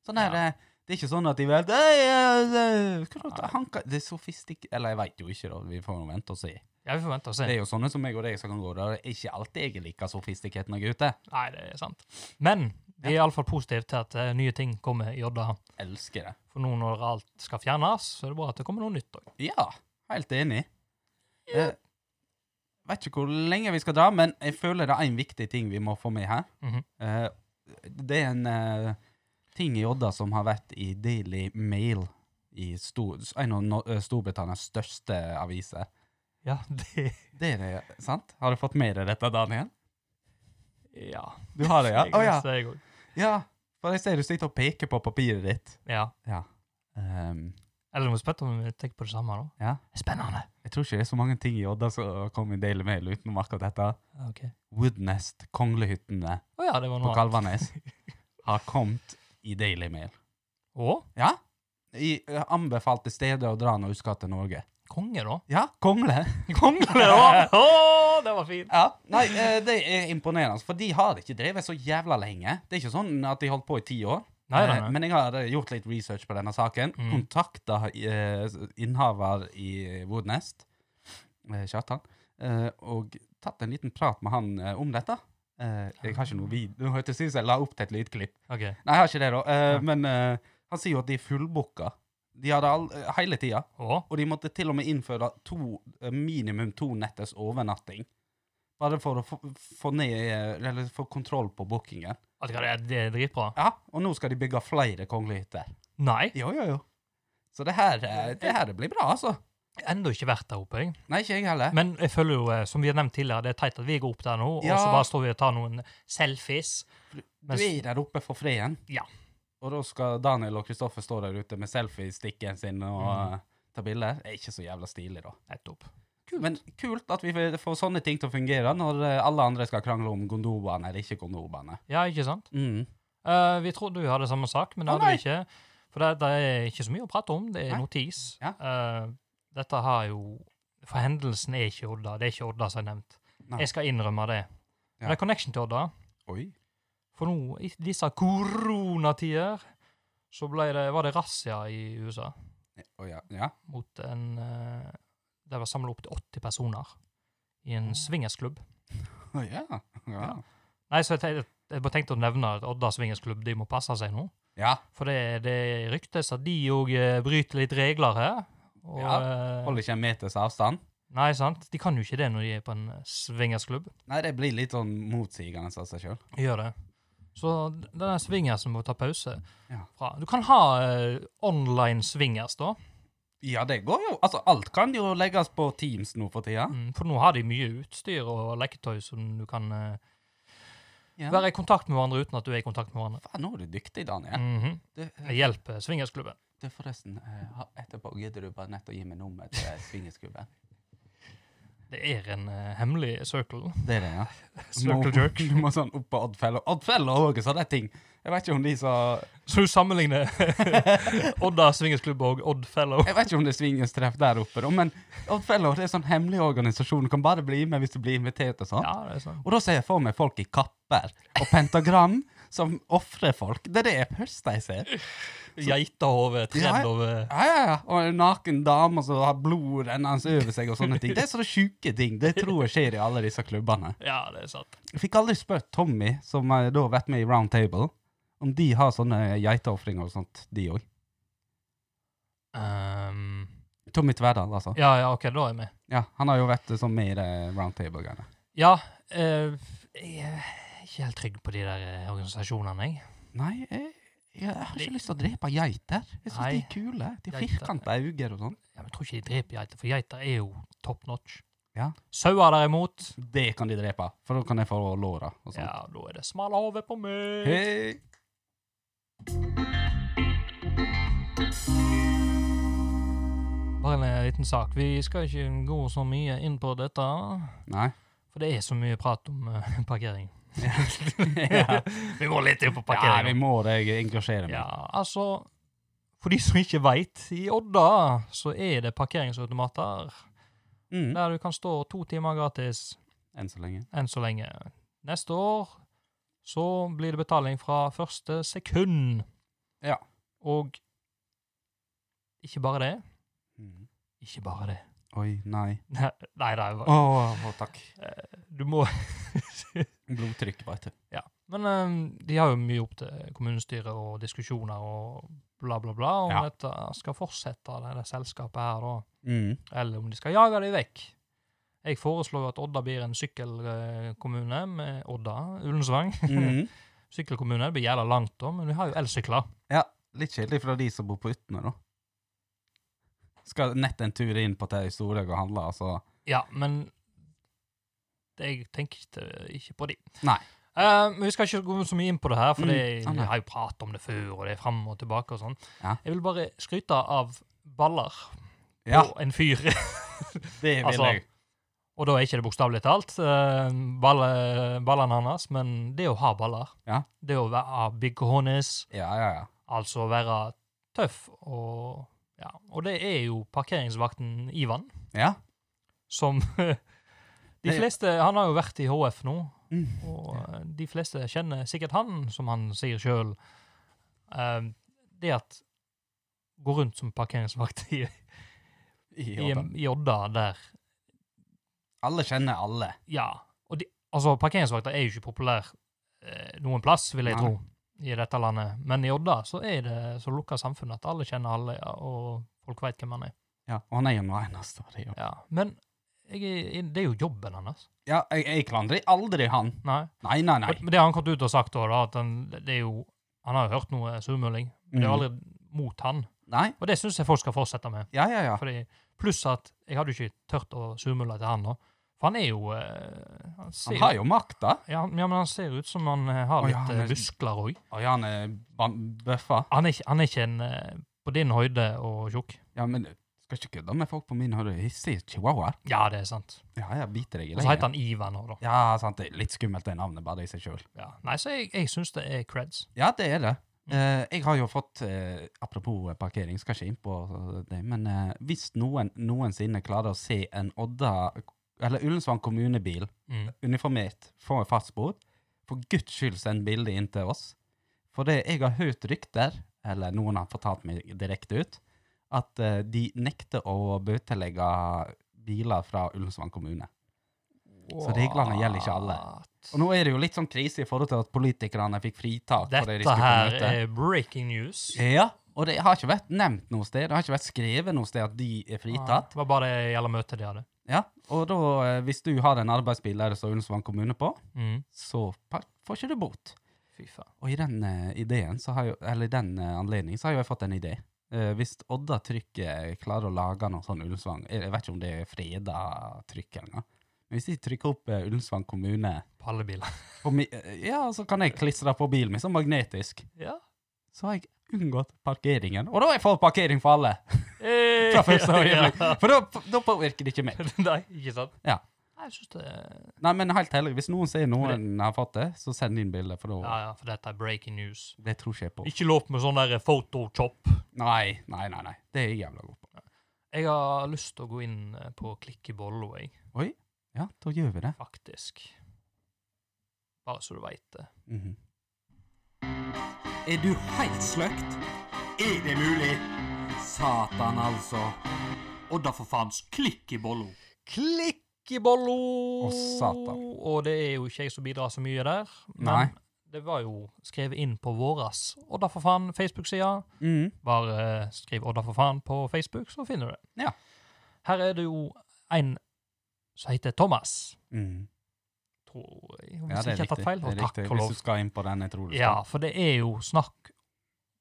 Sånn er
Ja.
det Det er ikke sånn at de vet «Ei, eh, eh, hva da, han kan- Det er sofistik... Eller jeg veit jo ikke, da. Vi får nå vente og se.
Ja, vi får vente og se.
Det er jo sånne som meg og deg som kan gå der. Det er ikke alltid jeg er like sofistikert når jeg er ute.
Nei, det er sant. Men vi er iallfall positive til at eh, nye ting kommer i Odda.
Elsker det.
For nå når alt skal fjernes, så er det bra at det kommer noe nytt òg.
Ja, helt enig. Eh, vet ikke hvor lenge vi skal dra, men jeg føler det er en viktig ting vi må få med her.
Mhm.
Eh, det er en eh, ting i Odda som har vært i Daily Mail, i stor, en av Nor- eh, Storbritannias største aviser.
Ja, det
Det er det, sant? Har du fått med deg dette, Daniel?
Ja.
Du har det, ja? Å ja.
Jeg òg.
ja. For jeg ser du sitter og peker på papiret ditt.
Ja.
Ja. Ehm,
Eller noe spett om vi tenker på det samme. da.
Ja.
Spennende.
Jeg tror ikke det er så mange ting i Odda som kom i Daily Mail utenom akkurat dette.
Ja, Ok.
Woodnest, konglehyttene
Å ja, det var
på
noe annet.
Kalvanes, har kommet i Daily Mail.
Å,
Ja? I eh, anbefalte steder å dra når du skal til Norge.
konge, da.
Ja, kongle.
Kongle, da! Å, det var fint.
Ja, nei, eh, det er imponerende, for de har ikke drevet så jævla lenge. Det er ikke sånn at de holdt på i ti år.
Nei, nei,
Eh,
nei.
Men jeg har eh, gjort litt research på denne saken.
Mm.
Kontakta eh, innehaver i Woodnest, eh, Kjartan, eh, og tatt en liten prat med han eh, om dette. Eh, jeg har ikke noe video. Nå hørtes det ut som jeg la opp til et lydklipp.
Ok.
Nei, jeg har ikke det, da. Eh,
Ja.
Men eh, han sier jo at de er fullbooka. De hadde all, eh, hele tida.
Å,
Og de måtte til og med innføre to, eh, minimum to netters overnatting. Bare for å få, få ned eh, Eller få kontroll på bookingen.
vet du hva, det er- det er dritbra.
Ja, og nå skal de bygge flere kongelige hytter.
Nei,
Jo, jo, jo. Så det her, eh, det her blir bra, altså.
ennå ikke vært der oppe, jeg.
Nei, ikke jeg heller.
Men jeg føler jo, eh, som vi har nevnt tidligere, det er teit at vi går opp der nå, og
Ja.
så bare står vi og tar noen selfies.
Du er der oppe for freden.
Ja.
Og da skal Daniel og Kristoffer stå der ute med selfiestikken sin og
Mhm.
eh, ta bilder. Det er ikke så jævla stilig, da.
Nettopp.
Men kult at vi f- får sånne ting til å fungere når eh, alle andre skal krangle om gondobane eller ikke gondobane.
Ja, ikke sant?
Mm.
Eh, vi trodde vi hadde samme sak, men det
Å,
hadde vi ikke. For det, det er ikke så mye å prate om, det er
Nei.
notis.
Ja.
Eh, dette har jo For hendelsen er ikke Odda, det er ikke Odda som er nevnt.
Nei.
Jeg skal innrømme det.
Ja.
Men det er connection til Odda.
Oi.
For nå, i disse koronatider, så ble det, var det razzia i USA
Å ja. ja.
mot en eh, Der var samla opp til 80 personer i en swingersklubb.
Å ja. Ja.
Nei, så jeg, tenkte- jeg bare tenkte å nevne at Odda swingersklubb de må passe seg nå.
ja.
For det, det ryktes at de òg bryter litt regler her. Og, eh,
Holder ikke en meters avstand.
nei, sant? De kan jo ikke det når de er på en swingersklubb.
Nei, det blir litt sånn motsigende av seg sjøl.
De Gjør det. Så d- denne swingersen må ta pause
Ja.
fra. Du kan ha eh, online swingers, da.
Ja, det går jo. Altså, alt kan jo legges på Teams nå for tida.
Mm, For nå har de mye utstyr og leketøy som du kan eh,
Ja.
være i kontakt med hverandre uten at du er i kontakt med hverandre.
Faen, nå er du dyktig, Daniel.
Mhm.
Mm. Du, eh,
Det hjelper swingersklubben.
du forresten, eh, ha- etterpå gidder du bare nett å gi meg nummeret til eh, swingersklubben.
Det er en eh, hemmelig circle.
Det er det, ja.
Circle jerk.
Du må sånn opp på Oddfell. Og Oddfell har også sånne ting. Jeg vet ikke om de så
Så du sammenligner Odda swingersklubb og Odd Fellow.
Jeg vet ikke om det er swingerstreff der oppe, da, men Oddfell det er sånn hemmelig organisasjon. Du kan bare bli med hvis du blir invitert og sånn.
Ja, det er sant.
Og da ser jeg for meg folk i kapper og pentagram som ofrer folk. Det er det jeg første jeg ser.
Geitehove
Ja, ja.
tredd over
Ja, ja, ja. Og en naken dame som har blod rennende over seg og sånne ting. Det er sånne sjuke ting. Det tror jeg skjer i alle disse klubbene.
Ja, det er sant.
Jeg fikk aldri spurt Tommy, som eh, da har vært med i Round Table, om de har sånne geiteofringer og sånt, de òg.
Ehm,
Tommy Tverdal, altså.
ja, ja, OK, da er jeg med.
Ja, han har jo vært eh, sånn med i det Round Table-greiene.
Ja, eh, jeg er ikke helt trygg på de der eh, organisasjonene, jeg.
Nei, jeg, jeg har ikke lyst til å drepe geiter. Jeg syns de
Nei.
er kule. De har
Geiter.
firkanta øyne og sånn.
Ja, men Jeg tror ikke de dreper geiter, for geiter er jo top notch.
Ja.
Sauer derimot
Det kan de drepe, for da kan jeg få låra og sånt.
Ja, da er det smale hode på meg.
Hei!
Bare en eh, liten sak. Vi skal ikke gå så mye inn på dette,
Nei.
for det er så mye prat om eh, parkering.
ja.
vi må litt inn på
ja, vi
parkering.
må det. Jeg engasjerer meg.
Ja, altså For de som ikke veit, i Odda så er det parkeringsautomater
Mm.
der du kan stå to timer gratis
Enn så lenge.
enn så lenge. Neste år så blir det betaling fra første sekund.
Ja.
Og ikke bare det.
Mm.
Ikke bare det.
Oi, nei.
Nei, nei, det er
Å,
bare
å, takk.
Du må
Blodtrykk, veit du.
Ja. Men eh, de har jo mye opp til kommunestyret og diskusjoner og bla, bla, bla om
Ja.
dette skal fortsette, det, det selskapet her, da.
Mm.
Eller om de skal jage dem vekk. Jeg foreslår at Odda blir en sykkelkommune med Odda, Ullensvang.
Mm.
Sykkelkommune det blir jævla langt, da, men vi har jo elsykler.
Litt kjedelig fra de som bor på Utne, da. Skal nett en tur inn på Terje Storhaug og handle, altså.
Ja, men jeg tenkte ikke på de.
Nei.
Eh, men vi skal ikke gå så mye inn på det her, for
Mm,
det,
ah, nei.
vi har jo pratet om det før, og det er fram og tilbake og sånn.
Ja.
Jeg vil bare skryte av baller på
Ja,
en fyr.
det vil
altså,
jeg.
Og da er ikke det bokstavelig talt eh, balle, ballene hans, men det å ha baller,
Ja.
det å være big honest,
Ja, ja, ja.
altså være tøff og ja, Og det er jo parkeringsvakten Ivan,
ja.
som De
Det-
fleste Han har jo vært i HF nå,
Mm.
og eh, de fleste kjenner sikkert han, som han sier sjøl. det at gå rundt som parkeringsvakt i,
I
i,
orden.
i Odda der
Alle kjenner alle.
Ja. Og de, altså, parkeringsvakter er jo ikke populær eh, noen plass, vil jeg
Nei.
tro, i dette landet. Men i Odda så er det så lukka samfunn at alle kjenner alle, ja, og folk veit hvem han er.
Ja, og han er jo den eneste av de. ja.
Ja. Men jeg, er- det er jo jobben hans.
Ja, jeg, jeg klandrer aldri han.
Nei.
Nei, nei, nei.
Men men det har han kommet ut og sagt, da, da at han, det er jo Han har jo hørt noe surmuling, men
Mm.
det er jo aldri mot han.
Nei,
Og det syns jeg folk skal fortsette med.
ja, ja, ja.
Fordi, pluss at jeg hadde jo ikke tørt å surmule til han, da. For han er jo eh, Han, ser,
Han har jo makta.
Ja, ja, men han ser ut som han eh, har
Å,
litt
ja, han
eh,
er-
muskler òg.
Og ja, han er ban- bøffa.
Han er, ikke- han er ikke en eh, på din høyde og tjukk.
Ja, men du skal ikke kødde med folk på min høyde. Hissige chihuahuaer.
Ja, det er sant.
Ja, jeg biter deg i
Og så heter han Ivan òg, da.
Ja, sant. Det er litt skummelt, det navnet, bare i seg sjøl.
Ja. Nei, så jeg, jeg syns det er creds.
Ja, det er det.
Mm.
Eh, jeg har jo fått, eh, apropos eh, parkering, skal ikke inn på eh, det, men eh, hvis noen noensinne klarer å se en Odda, eller Ullensvang kommunebil,
Mm.
uniformert, få en fastbod, for guds skyld send bilde inn til oss. For det, jeg har hørt rykter, eller noen har fortalt meg direkte ut, at eh, de nekter å bøtelegge biler fra Ullensvang kommune. Så reglene gjelder ikke alle. Og nå er det jo litt sånn krise i forhold til at politikerne fikk fritak. for det de skulle
Dette
på
her
møte.
er breaking news.
Ja, og det har ikke vært nevnt noe sted. Det har ikke vært skrevet noe sted at de er fritatt.
Det var bare det gjelder møtet de hadde.
Ja, Og da, eh, hvis du har en arbeidsbil der det står Ullensvang kommune på,
Mm.
så pa- får ikke du bot.
Fy faen.
Og i den eh, ideen, så har jo, eller i den eh, anledningen, så har jo jeg fått en idé. Eh, hvis Odda Trykket klarer å lage noe sånn Ullensvang Jeg jeg vet ikke om det er freda trykk eller noe. Men hvis de trykker opp eh, Ullensvang kommune
Pallebiler.
på mi, eh, Ja, så kan jeg klistre på bilen min sånn magnetisk.
Ja.
Så har jeg unngått parkeringen. Og da har jeg fått parkering for alle! Fra
Fra
første øyeblikk. For da, da påvirker det ikke meg.
Eh, Nei, ikke sant?
Ja.
Nei, Jeg syns det er-
Nei, men helt ærlig, hvis noen sier noen har fått det, så send inn bilde, for
Ja,
da
ja, for dette er breaking news.
Det tror ikke jeg på.
Ikke lov med sånn der photochop.
Nei, nei, nei. nei. Det er jeg jævla god på.
Jeg har lyst til å gå inn eh, på Klikk i bolla, jeg.
Ja, da gjør vi det.
Faktisk. Bare så du veit det.
Mhm.
Er du helt sløkt? Er det mulig? Satan, altså.
Odda for faens klikk i bollo.
Klikk i bollo!
Å, satan.
Og det er jo ikke jeg som bidrar så mye der. Men
Nei.
det var jo skrevet inn på våras Odda for faen Facebook-sida.
Mhm.
Bare eh, skriv Odda for faen på Facebook, så finner du det.
Ja.
Her er det jo en som heter Thomas.
Mhm.
Tror jeg, hvis
Ja, det
jeg
er riktig.
ikke har tatt feil.
Det
Og
er
takk
riktig.
og
Hvis
lov.
du skal inn på den, jeg tror du skal.
Ja, for det er jo snakk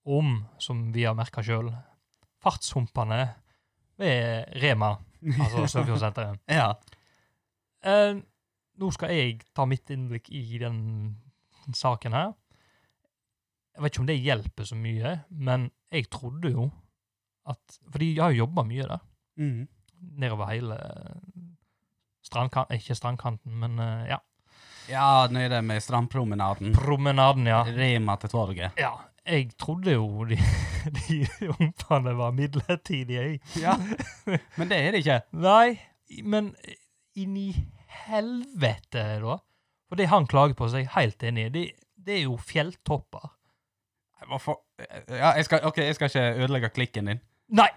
om, som vi har merka sjøl, fartshumpene ved Rema, altså Sørfjordsenteret.
Ja.
Eh, nå skal jeg ta mitt innblikk i den saken her. Jeg vet ikke om det hjelper så mye, men jeg trodde jo at For jeg har jo jobba mye der, Mm.
Mhm.
nedover hele strandkanten Ikke strandkanten, men eh, ja.
ja, nede med strandpromenaden.
Promenaden, ja.
Rema til torget.
Ja, jeg trodde jo de, de humpene var midlertidige. jeg.
Ja. Men det er det ikke.
Nei, men inn i helvete, da. For det han klager på, så er jeg helt enig i. Det, det er jo fjelltopper.
Hvorfor? Ja, jeg skal, ok, jeg skal ikke ødelegge klikken din.
Nei,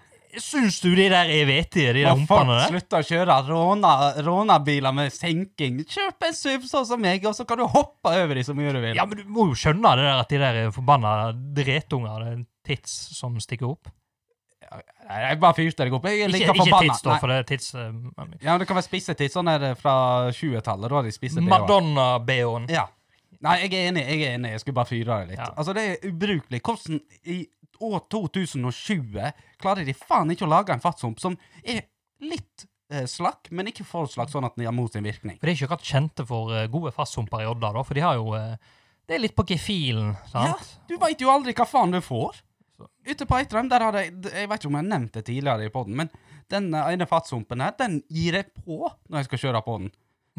syns du de der er vettige, de der
Når folk
humpene der?
slutter å kjøre råna- rånabiler med senking, kjøp en SUV sånn som meg, og så kan du hoppe over dem så mye du vil.
Ja, men du må jo skjønne det der at de der er forbanna dretunger. Det er en tits som stikker opp.
Nei, Jeg bare fyrte deg opp. Jeg er
Ikke,
like
ikke
forbanna.
tits, da,
Nei.
for det er tits eh,
Ja, men det kan være spissetid. Sånn er det fra 20-tallet. Da har de
eh,
spisset det.
Madonna-BH-en.
Ja. Nei, jeg er enig. Jeg er enig. Jeg skulle bare fyre det litt.
Ja.
Altså, det er ubrukelig. Hvordan i år 2020 klarer de faen ikke å lage en fartshump som er litt eh, slakk, men ikke for slakk, sånn at den er mot sin virkning?
For de er ikke akkurat kjente for eh, gode fasthumper i Odda, da, for de har jo eh, Det er litt på gefühlen, sant?
Du veit jo aldri hva faen du får.
Så-
Ute på Eitrheim, der har jeg Jeg vet ikke om jeg har nevnt det tidligere i poden, men den eh, ene fatshumpen her, den gir jeg på når jeg skal kjøre på den.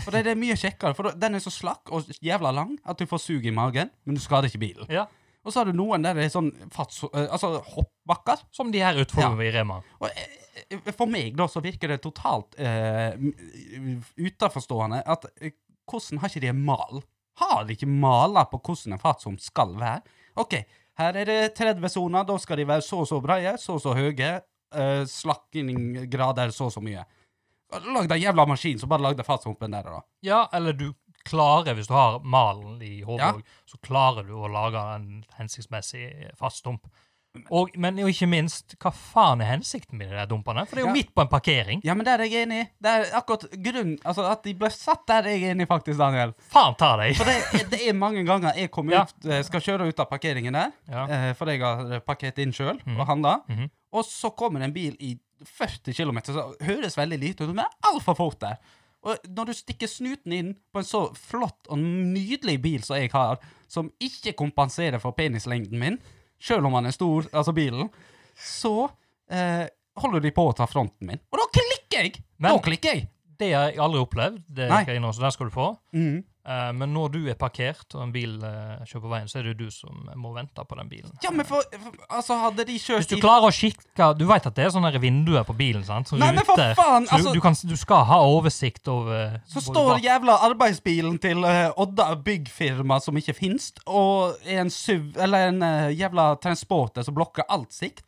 For det er mye kjekkere, for den er så slakk og jævla lang at du får sug i magen, men du skader ikke bilen.
Ja.
Og så har du noen der det er sånn fats... eh, Altså hoppbakker.
Som de her utfor i Rema.
Og eh, eh, for meg, da, så virker det totalt eh, utenforstående at eh, hvordan har ikke de en mal? Har de ikke maler på hvordan en fatshump skal være? OK, her er det 30 soner, da skal de være så og så breie, så og så høye, eh, slakkinggrader så og så mye. Lag deg jævla maskin som bare lagde fatshumpen der, da.
Ja, eller du klarer, hvis du har malen i hodet,
Ja.
også, så klarer du å lage en hensiktsmessig eh, fast dump. Og, men jo ikke minst, hva faen er hensikten med de der dumpene? For det er jo
Ja.
midt på en parkering.
Ja, men der er jeg enig. Det er akkurat grunnen Altså, at de ble satt der er jeg enig, faktisk, Daniel.
Faen ta deg!
For det, er- det er mange ganger jeg kommer
Ja.
ut, eh, skal kjøre ut av parkeringen der,
Ja. Mhm.
eh, for jeg har parkert inn sjøl og handla, og så kommer det en bil i 40 km, så høres veldig lite ut, men det er altfor fort der. Og når du stikker snuten inn på en så flott og nydelig bil som jeg har, som ikke kompenserer for penislengden min, sjøl om han er stor, altså bilen, så eh, holder de på å ta fronten min. Og da klikker jeg!
Men-
da klikker jeg!
Det har jeg aldri opplevd, det
Nei.
skal jeg innrømme, så den skal du få.
Mhm.
Eh, men når du er parkert og en bil eh, kjører på veien, så er det jo du som må vente på den bilen.
Ja, men for, for Altså, hadde de kjørt
Hvis du
i-
klarer å kikke Du vet at det er sånne her vinduer på bilen, sant? Som
Nei, men for
ruter.
faen,
Så du,
altså-
du, kan, du skal ha oversikt over
Så
både
står
bak-
jævla arbeidsbilen til eh, Odda byggfirma som ikke finnes, og er en SUV, eller en eh, jævla transporter som blokker alt sikt.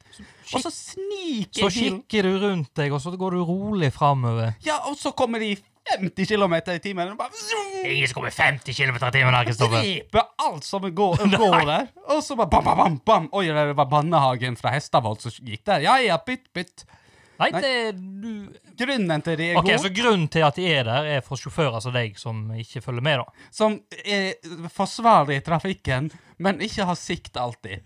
Og så
Så
sniker
Mhm.
bilen
kikker du rundt deg, og så går du rolig framover.
Ja, og så kommer de i 50 km i timen og bare zoom,
Ingen som kommer 50 km i timen her, Kristoffer.
dreper alt som går, går der. Og så bare bam, bam, bam, bam. Oi, det var barnehagen fra Hestavold som gikk der. Ja, ja, bytt, bytt.
Nei, det er du
Grunnen til det er
OK,
god.
så grunnen til at de er der, er for sjåfører som deg, som ikke følger med, da.
som er forsvarlig i trafikken, men ikke har sikt alltid.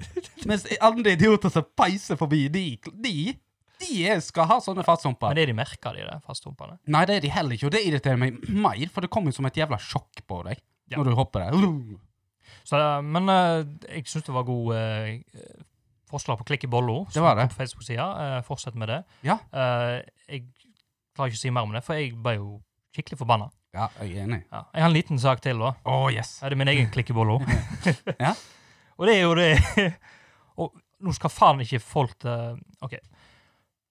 Mens andre idioter som peiser forbi, de, de, de skal ha sånne fartshumper.
Men er de merka, de der fasthumpene?
Nei, det er de heller ikke, og det irriterer meg mer, for det kommer jo som et jævla sjokk på deg
Ja.
når du hopper der.
Så, eh, Men eh, jeg syns det var god eh, forslag på Klikk i bollo. som
var det.
kom På Facebook-sida. Eh, fortsett med det.
Ja.
Eh, jeg klarer ikke å si mer om det, for jeg ble jo skikkelig forbanna.
Ja, jeg er enig.
Ja. Jeg har en liten sak til, da.
Å, yes.
Ja, det er min egen klikkebolle.
Ja.
Og det er jo det Og nå skal faen ikke folk til OK.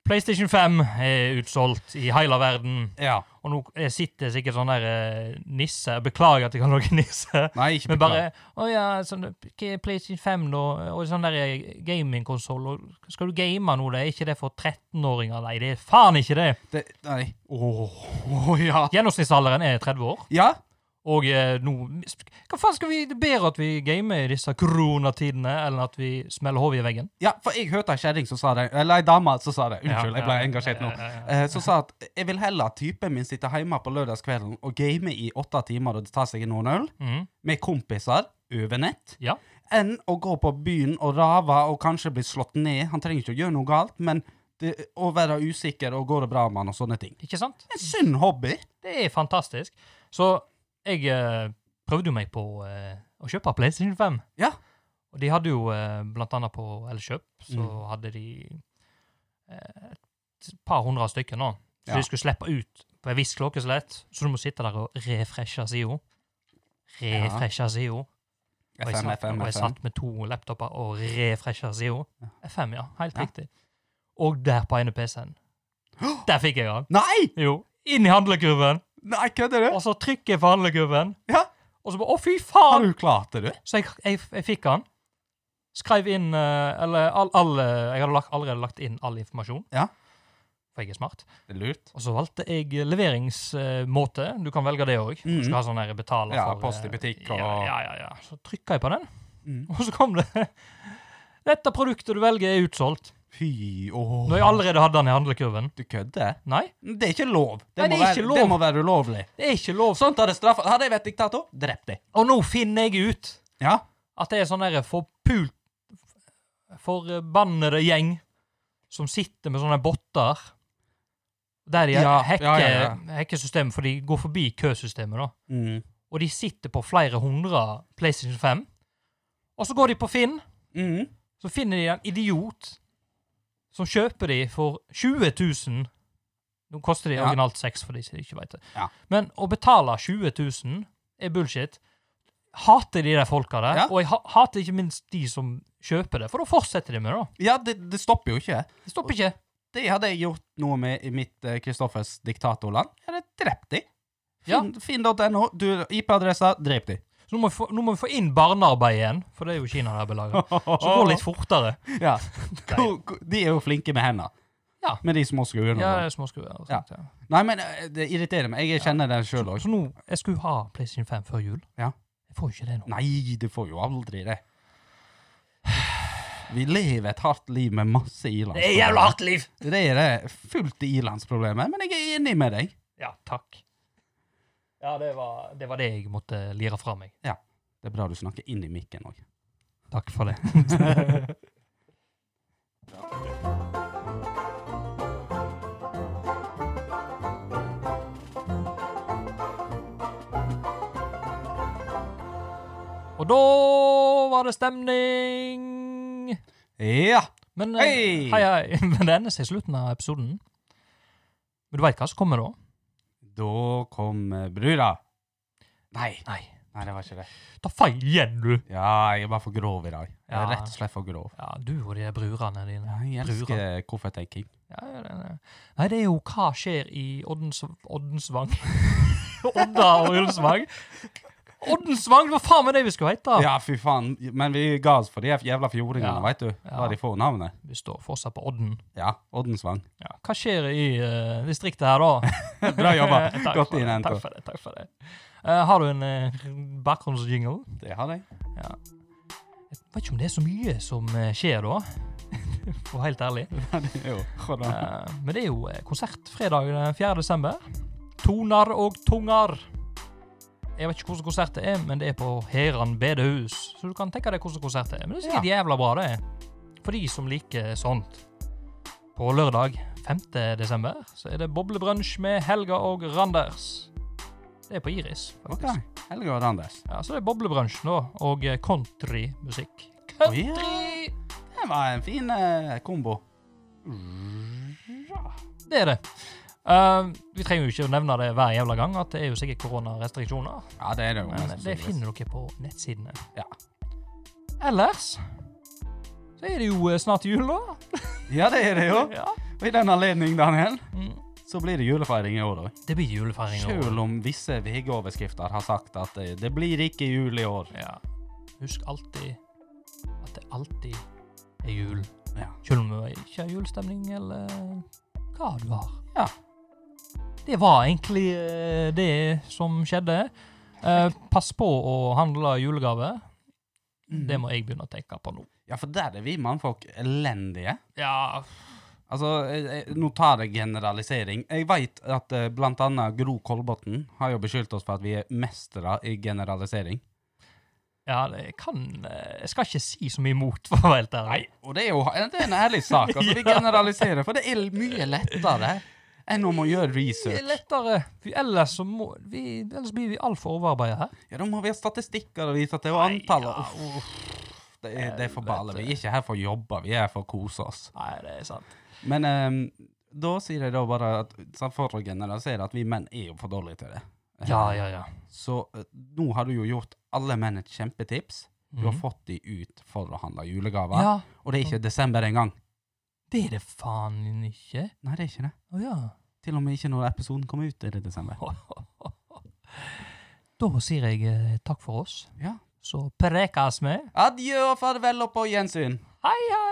PlayStation 5 er utsolgt i hele verden,
Ja.
og nå er- sitter sikkert sånn der eh, nisse Beklager at jeg kan lage nisse.
Nei, ikke
Men
beklager.
bare Å ja, sånn, hva er PlayStation 5, da? Og sånn der gamingkonsoll, og skal du game nå? Det er ikke det for 13-åringer? Nei, det er faen ikke det!
Det, nei. Åh, åh, ja.
Gjennomsnittsalderen er 30 år.
Ja,
Og eh, nå Hva faen skal vi Det er bedre at vi gamer i disse koronatidene, enn at vi smeller hodet i veggen?
ja, for jeg hørte ei kjerring som sa det, eller ei dame som sa det. Unnskyld,
Ja,
jeg ble
ja,
engasjert nå.
ja, ja, ja.
Eh, Som sa at jeg vil heller at typen min sitter hjemme på lørdagskvelden og gamer i åtte timer og tar seg noen øl
Mhm.
med kompiser over nett,
Ja.
enn å gå på byen og rave og kanskje bli slått ned. Han trenger ikke å gjøre noe galt, men det, å være usikker og går det bra med han og sånne ting.
Ikke sant?
En sunn hobby.
Det er fantastisk. Så jeg eh, prøvde jo meg på eh, å kjøpe PlayStation 5.
Ja.
Og de hadde jo eh, blant annet på Elkjøp, så
Mm.
hadde de eh, et par hundre stykker nå. Så
Ja.
de skulle slippe ut på en viss klokkeslett, så du må sitte der og refreshe sida. Refreshe sida. Og jeg,
FM,
satt,
FM,
og jeg
FM.
satt med to laptoper og refresha sida. FM, ja. Helt
Ja.
riktig. Og der på ene PC-en. Der fikk jeg den.
Nei!
Jo. Inn i handlekurven.
Nei, kødder du?
Og så trykker jeg på handlekurven.
Ja.
Og så bare Å, fy
Har
faen!
du klart det, du?
Så jeg, jeg, jeg fikk den. Skrev inn eh, Eller all, all eh, Jeg hadde lagt, allerede lagt inn all informasjon.
Ja.
For jeg er smart.
Det er lurt.
Og så valgte jeg leveringsmåte. Du kan velge det òg. Du
Mhm.
skal ha sånn her betaler
Ja,
for
post i
eh,
butikk og-
Ja, ja, ja, ja. Så trykka jeg på den,
Mhm.
og så kom det Dette produktet du velger, er utsolgt.
Fy, åh.
Når jeg allerede hadde den i handlekurven.
Du kødder?
Nei,
Det er ikke lov. Det,
Nei,
må,
det er
være,
ikke lov.
det må være ulovlig.
det er ikke lov.
Sånt hadde straffa Hadde jeg vært diktator, drept deg.
Og nå finner jeg ut
Ja.
at det er sånn der forpult Forbannede gjeng som sitter med sånne botter. Der de
Ja,
hacker,
ja, ja, ja.
hacker systemet, for de går forbi køsystemet, da.
Mm.
og de sitter på flere hundre PlayStation 5. Og så går de på Finn,
Mm.
Så finner de en idiot som kjøper de for 20 000. Nå koster de
Ja.
originalt 6 for de som ikke vet det.
Ja.
Men å betale 20 000 er bullshit. Hater de der folka der,
Ja.
og jeg ha- hater ikke minst de som kjøper det, for da fortsetter de med det. da.
Ja, det, det stopper jo ikke.
Det stopper ikke.
Det hadde jeg gjort noe med i mitt eh, Kristoffers diktatorland. Jeg hadde drept de.
Ja.
Finn- Finn.no, du IP-adressa, drep de.
Så nå må, vi få, nå må vi få inn barnearbeid igjen, for det er jo Kina der belager. Så det går litt fortere.
Ja. Ko- ko- De er jo flinke med hendene.
Ja.
Med de små skruene. og
Ja,
sånt.
det er småskruer. og
Ja.
sånt, Ja.
Nei, men eh, det irriterer meg. Jeg kjenner den sjøl òg.
Så nå, jeg skulle ha PlayStation 5 før jul.
Ja.
Jeg får jo ikke det nå.
Nei, du får jo aldri det. Vi lever et hardt liv med masse ilandsproblemer.
hardt liv!
Det er det fullt i ilandsproblemet, men jeg er enig med deg.
Ja, takk. Ja, det var det, var det jeg måtte lire fra meg.
Det er bra du snakker inn i mikken òg.
Takk for det. Og da var det stemning!
Ja.
Men eh,
Hei!
hei, hei. Men det ender seg i slutten av episoden. Men du veit hva som kommer da?
Da kom eh, brura. Nei.
Nei.
Nei, det var ikke det.
Ta feil igjen, du!
Ja, jeg er bare for grov i dag. Jeg er
Ja.
rett og slett for grov.
Ja, du og de brurene dine.
Ja, Jeg
Brura.
elsker kofferttenking.
Ja, ja, det, det. Nei, det er jo hva skjer i Oddens, Oddensvang. Odda og Ullensvang. Oddensvang! Hva faen var det vi skulle hete?
Ja, fy faen. Men vi ga oss for de jævla fjordingene,
Ja.
vet du. Da
Ja.
de får navnet.
Vi står fortsatt på Odden.
Ja, Oddensvang.
Ja. Hva skjer i eh, distriktet her, da?
Bra jobba.
Takk
Godt
for det,
innhentet.
Takk for det. takk for det. Eh, har du en uh, bakgrunnsjingle?
Det har jeg.
Jeg vet ikke om det er så mye som eh, skjer da, for å være helt ærlig.
Ja, det er jo. Hvordan?
Eh, Men det er jo eh, konsert fredag den 4. desember. Toner og tunger. Jeg vet ikke hvordan konsert det er, men det er på Heran bedehus. Så du kan tenke deg hvordan konsert det er. Men det er sikkert jævla bra, det. For de som liker sånt. På lørdag 5. desember så er det boblebrunsj med Helga og Randers. Det er på Iris.
Ok.
faktisk.
Helge og Randers.
Ja, Så det er boblebrunsj nå, og eh, countrymusikk.
Å,
Country!
ja. Det var en fin eh, kombo.
Det er det. Eh, vi trenger jo ikke å nevne det hver jævla gang, at det er jo sikkert koronarestriksjoner.
Ja, det er sånn det jo.
Men
mest
det
sannsynligvis.
finner dere på nettsidene.
Ja.
Ellers så er det jo eh, snart jul, da.
Ja, det er det jo.
Ja.
Og i den anledning, Daniel,
Mm.
så blir det julefeiring i år òg.
Det blir julefeiring. i år.
Selv om visse VG-overskrifter har sagt at eh, det blir ikke jul i år.
Ja. Husk alltid at det alltid er jul.
Ja.
Selv om det ikke er julestemning eller hva du har.
Ja.
Det var egentlig eh, det som skjedde. Eh, pass på å handle julegave. Det må jeg begynne å tenke på nå.
Ja, for der er vi mannfolk elendige.
Ja,
Altså, eh, eh, nå tar jeg generalisering. Jeg veit at eh, blant annet Gro Kolbotn har jo beskyldt oss for at vi er mestere i generalisering.
ja det kan eh, Jeg skal ikke si så mye imot, for å være helt ærlig.
Og det er jo eh, det er en ærlig sak. Altså, vi generaliserer, for det er mye lettere enn om å gjøre
Det er
research.
lettere. For ellers, så må, vi, ellers blir vi altfor overarbeidet her.
Ja, da må vi ha statistikker og vise at det er antall.
ja,
og- Uff, Det er, det er for balle. Vi er ikke her for å jobbe, vi er her for å kose oss.
Nei, det er sant.
Men ehm, da sier jeg da bare at, sant, for å generalisere at vi menn er jo for dårlige til det.
Ja, ja, ja.
Så eh, nå har du jo gjort alle menn et kjempetips. Du har
Mhm.
fått de ut for å handle julegaver.
ja.
Og det er ikke desember engang.
Det er det faen ikke.
Nei, det er ikke det.
Å ja.
Til og med ikke når episoden kommer ut, er det desember.
Da sier jeg eh, takk for oss.
Ja.
Så prekas vi.
Adjø og farvel og på gjensyn!
Hei, hei!